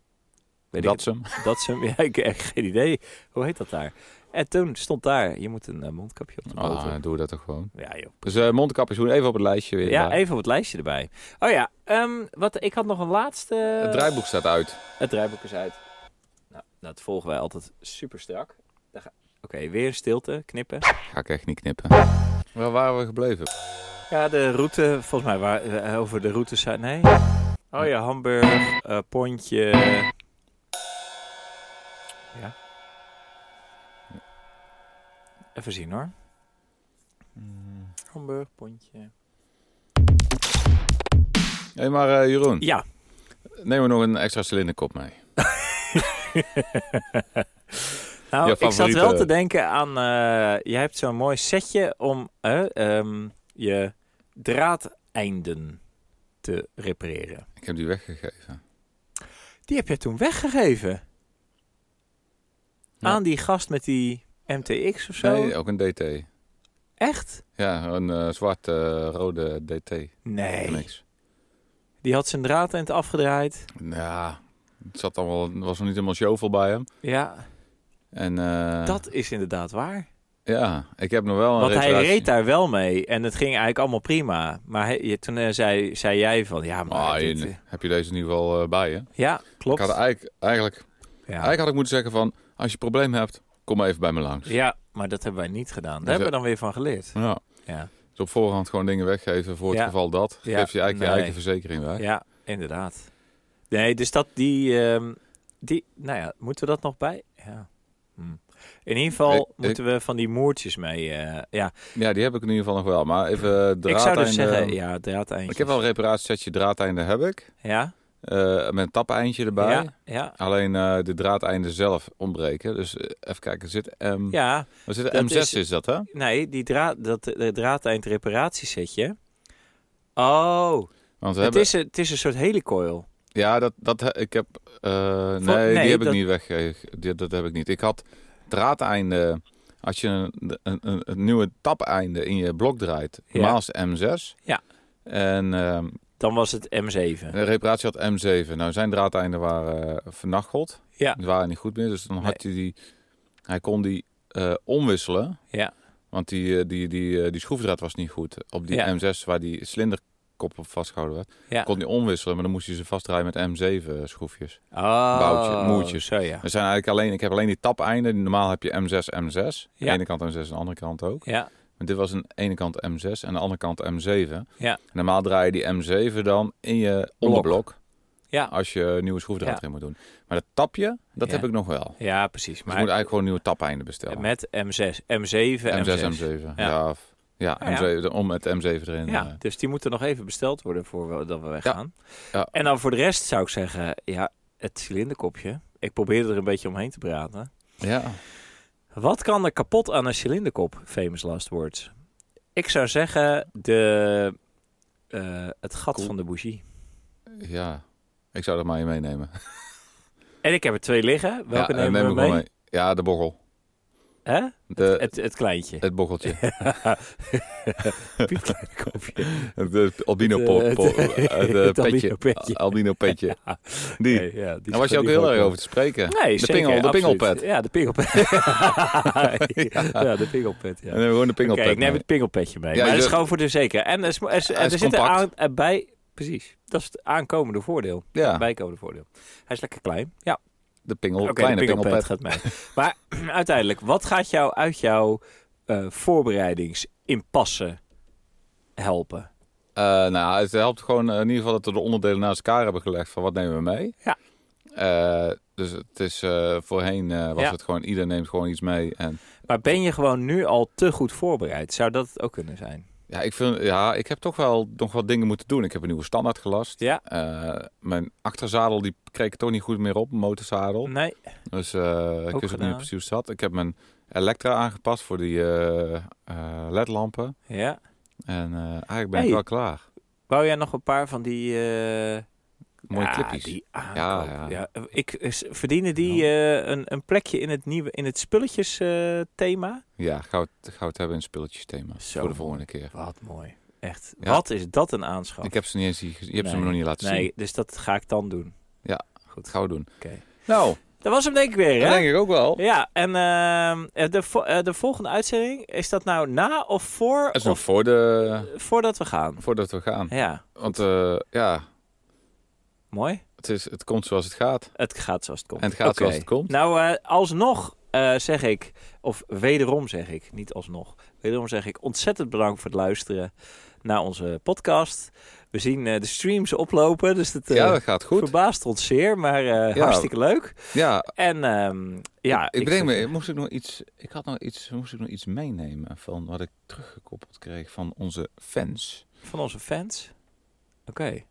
Weet ik dat ze hem. het, Datsum. Ja, ik heb echt geen idee. Hoe heet dat daar? En toen stond daar, je moet een eh, mondkapje op de boot. Ah, doe dat toch gewoon. ja, joh. Dus eh, mondkapjes doen even op het lijstje weer. Ja, daar. even op het lijstje erbij. Oh ja, ehm, wat, ik had nog een laatste... Het draaiboek staat uit. Het draaiboek is uit. Nou, dat volgen wij altijd super strak. Daar ga- Oké, weer stilte, knippen. Ga ik echt niet knippen. Waar waren we gebleven? Ja, de route, volgens mij waar, eh, over de route zijn. Nee. Oh ja, Hamburg, eh, Pontje. Ja. Even zien hoor. Mm. Hamburg, Pontje. Hé, maar eh, Jeroen, Ja. neem er nog een extra cilinderkop mee. Nou, Je ik zat favoriete- wel te denken aan. eh, jij hebt zo'n mooi setje om eh, ehm, je draadeinden te repareren. Ik heb die weggegeven. Die heb jij toen weggegeven. Ja. Aan die gast met die MTX of zo. Nee, ook een DT. Echt? Ja, een eh, zwart eh, rode DT. Nee. Niks. Die had zijn draadtent afgedraaid. Ja, Nou, het zat allemaal, er was nog niet helemaal shovel bij hem. Ja, En, eh, dat is inderdaad waar. Ja, ik heb nog wel Oh, een Want hij reparatie. reed daar wel mee en het ging eigenlijk allemaal prima. Maar hij- je- toen eh, zei, zei jij van, ja, maar... Ah, dit, je- eh, heb je deze in ieder geval eh, bij je? ja, Ik had klopt. eigenlijk, eigenlijk, Ja. eigenlijk had ik moeten zeggen van, als je probleem hebt, kom even bij me langs. ja, maar dat hebben wij niet gedaan. Daar Dus, hebben we dan weer van geleerd. Ja. Ja, Dus op voorhand gewoon dingen weggeven voor het Ja. geval dat. Ja. Geef je eigenlijk Nee. je eigen verzekering weg. ja inderdaad. Nee, dus dat die... ehm, die nou ja, moeten we dat nog bij? Ja. Hm. In ieder geval Ik- ik- moeten we van die moertjes mee... eh, ja, Ja, die heb ik in ieder geval nog wel. Maar even eh, draadeinde. ik zou dus zeggen... Ja, draadeindjes. ehm, Ik heb wel een reparatiesetje draadeinde heb ik. Ja, Eh, met een tapeindje erbij. ja, ja. Alleen eh, de draadeinden zelf ontbreken. Dus eh, even kijken, er zit, M, Ja, er zit dat M6 is- is, dat hè? nee, die draad, dat eh, draadeindreparatiesetje. Oh, Want we het hebben, is, een- het is een soort helicoil. Ja, dat, dat he- ik heb. eh, nee, nee, die heb dat- ik niet weggegeven. Die- Dat heb ik niet. Ik had draadeinde. Als je een, een, een, een nieuwe tapeinde in je blok draait, Ja. Maas M6. Ja. En ehm, Dan was het M7. de reparatie had M7. Nou, zijn draadeinden waren eh, vernacheld. Ja. Die waren niet goed meer. Dus dan had hij die. Hij kon die eh, omwisselen. Ja. Want die, eh, die, die, eh, die schroefdraad was niet goed. Op die Ja. M6 waar die slinderkop op vastgehouden werd. Ja. Kon die omwisselen, maar dan moest je ze vastdraaien met M7 schroefjes. Oh, boutje, moertjes. Dus- Zo ja. Er zijn eigenlijk alleen, ik heb alleen die tapeinden. Normaal heb je M6, M6. Ja. De ene kant M6 en de andere kant ook. Ja, Maar dit was aan de ene kant M6 en aan de andere kant M7. Ja. Normaal draai je die M7 dan in je onderblok. Ja. Als je een nieuwe schroefdraad Ja. erin moet doen. Maar dat tapje, dat Ja. heb ik nog wel. ja precies. Dus Maar je moet eigenlijk gewoon nieuwe tapeinden bestellen. Eh, met M6, M7, M6, M6. M7. Ja. Ja. of- ja, Ah, ja. M7, om met M7 erin. eh. Ja, dus die moeten nog even besteld worden voor we, dat we weggaan. Ja. En dan voor de rest zou ik zeggen, ja, het cilinderkopje. Ik probeer er een beetje omheen te praten. ja. Wat kan er kapot aan een cilinderkop? Famous last words. Ik zou zeggen, de, eh, het gat Cool. van de bougie. Ja. Ik zou dat maar je meenemen. En ik heb er twee liggen. Welke ja, eh, nemen neem we ik wel mee? Ja, de bochel. Hè? De, het, Het, het kleintje. bocheltje. piepkleine kopje. Het albino Het, pop, eh, pop- het- het, eh, het albino petje. petje. Albino petje. Die. Nee, ja, die Daar was je ook die heel grote. erg over te spreken. Nee, de zeker, pingel, de absoluut. pingelpet. Ja, de pingelpet. ja, de pingelpet. En Ja. dan hebben we gewoon de Oké, pingelpet. ik neem mee. het pingelpetje mee. Ja, maar dat je is zegt- gewoon voor de zeker. En eh, er, is- er, is- Hij er is zit er compact. Ah. aan, er bij... Precies, dat is het aankomende voordeel. Ja, Bijkomende voordeel. Hij is lekker klein. Ja, de pingel, oké, Oh, kleine de pingelpet pingelpet. gaat mee. maar uiteindelijk, wat gaat jou uit jouw eh voorbereidingsimpasse helpen? Eh, nou, het helpt gewoon eh, in ieder geval dat we de onderdelen naast elkaar hebben gelegd van wat nemen we mee. Ja. Eh, dus het is eh, voorheen eh, was Ja. het gewoon ieder neemt gewoon iets mee. En Maar ben je gewoon nu al te goed voorbereid? Zou dat het ook kunnen zijn? ja, ik vind, ja, ik heb toch wel nog wat dingen moeten doen. Ik heb een nieuwe standaard gelast. Ja. Eh, mijn achterzadel die kreeg ik toch niet goed meer op, mijn motorzadel. Nee. Dus eh, ik Ook wist ook niet gedaan. precies hoe het zat. Ik heb mijn Elektra aangepast voor die eh, eh, ledlampen. Ja. En eh, eigenlijk ben Hey. ik wel klaar. Wou jij nog een paar van die... eh, Mooie ja, clipjes. Die Ja, aankoop. ja, ja. Ik, eh, s- verdienen die eh, een, een plekje in het, nieuwe, in het spulletjes eh, thema? Ja, gaan we, het, gaan we het hebben in spulletjes thema. Zo. Voor de volgende keer. Wat mooi. Echt. Ja. Wat is dat een aanschaf? Ik heb ze niet eens gezien. Je hebt ze Nee. me nog niet laten zien. nee, dus dat ga ik dan doen. Dat gaan we doen. Oké. Nou, Dat was hem denk ik weer, hè? dat denk ik ook wel. Ja, en ehm, eh, de, vo- eh, de volgende uitzending, is dat nou na of voor? Dat is nog of voor de, voordat we gaan? voordat we gaan. Ja, Want eh, ja, mooi. het, is, het komt zoals het gaat. Het gaat zoals het komt. En het gaat Oké. zoals het komt. Nou, eh, alsnog eh, zeg ik, of wederom zeg ik, niet alsnog, wederom zeg ik ontzettend bedankt voor het luisteren naar onze podcast. We zien eh, de streams oplopen, dus het eh, ja, dat gaat goed. verbaast ons zeer, maar eh, Ja. hartstikke leuk. Ja, En ehm, ja, ik, ik bedenk vind- me, moest ik nog iets, ik had nog iets, moest ik nog iets meenemen van wat ik teruggekoppeld kreeg van onze fans. van onze fans. Oké.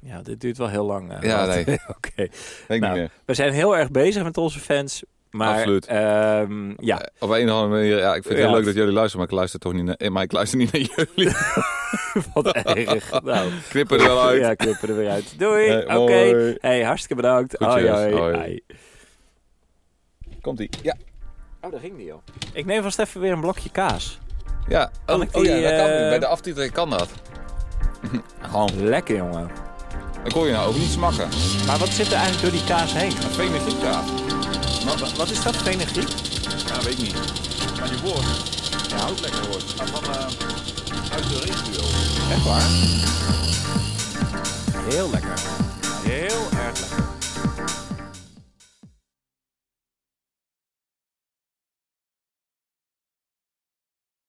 Ja, dit duurt wel heel lang. eh, Ja, want- nee. Oké. Denk eh, Nou, niet meer. We zijn heel erg bezig met onze fans, maar Absoluut. ehm, ja, Eh, Op een of andere manier, ja, ik vind het Ja. heel leuk dat jullie luisteren, maar ik luister toch niet naar, eh, maar ik luister niet naar jullie. wat erg. Nou. Knippen er wel uit. Ja, knippen er weer uit. Doei. Eh, Oké. hoi. Hey, hartstikke bedankt. Goed, hoi, jongens. hoi, Hoi. hoi. Komt ie. Ja. Oh, daar ging die al. Ik neem vast even weer een blokje kaas. Ja, Kan oh, ik oh die, ja, dat kan. eh, Bij de aftiteling kan dat. Gewoon, Lekker, jongen. dan kon je nou ook niet smakken. Maar wat zit er eigenlijk door die kaas heen? Een fenegrietkaas. Maar dat Wat is dat, fenugreek? ja, weet ik niet. Maar die woord, ja, ook lekker woord. Het gaat van eh, uit de regio. Echt waar? Heel lekker. Heel erg lekker.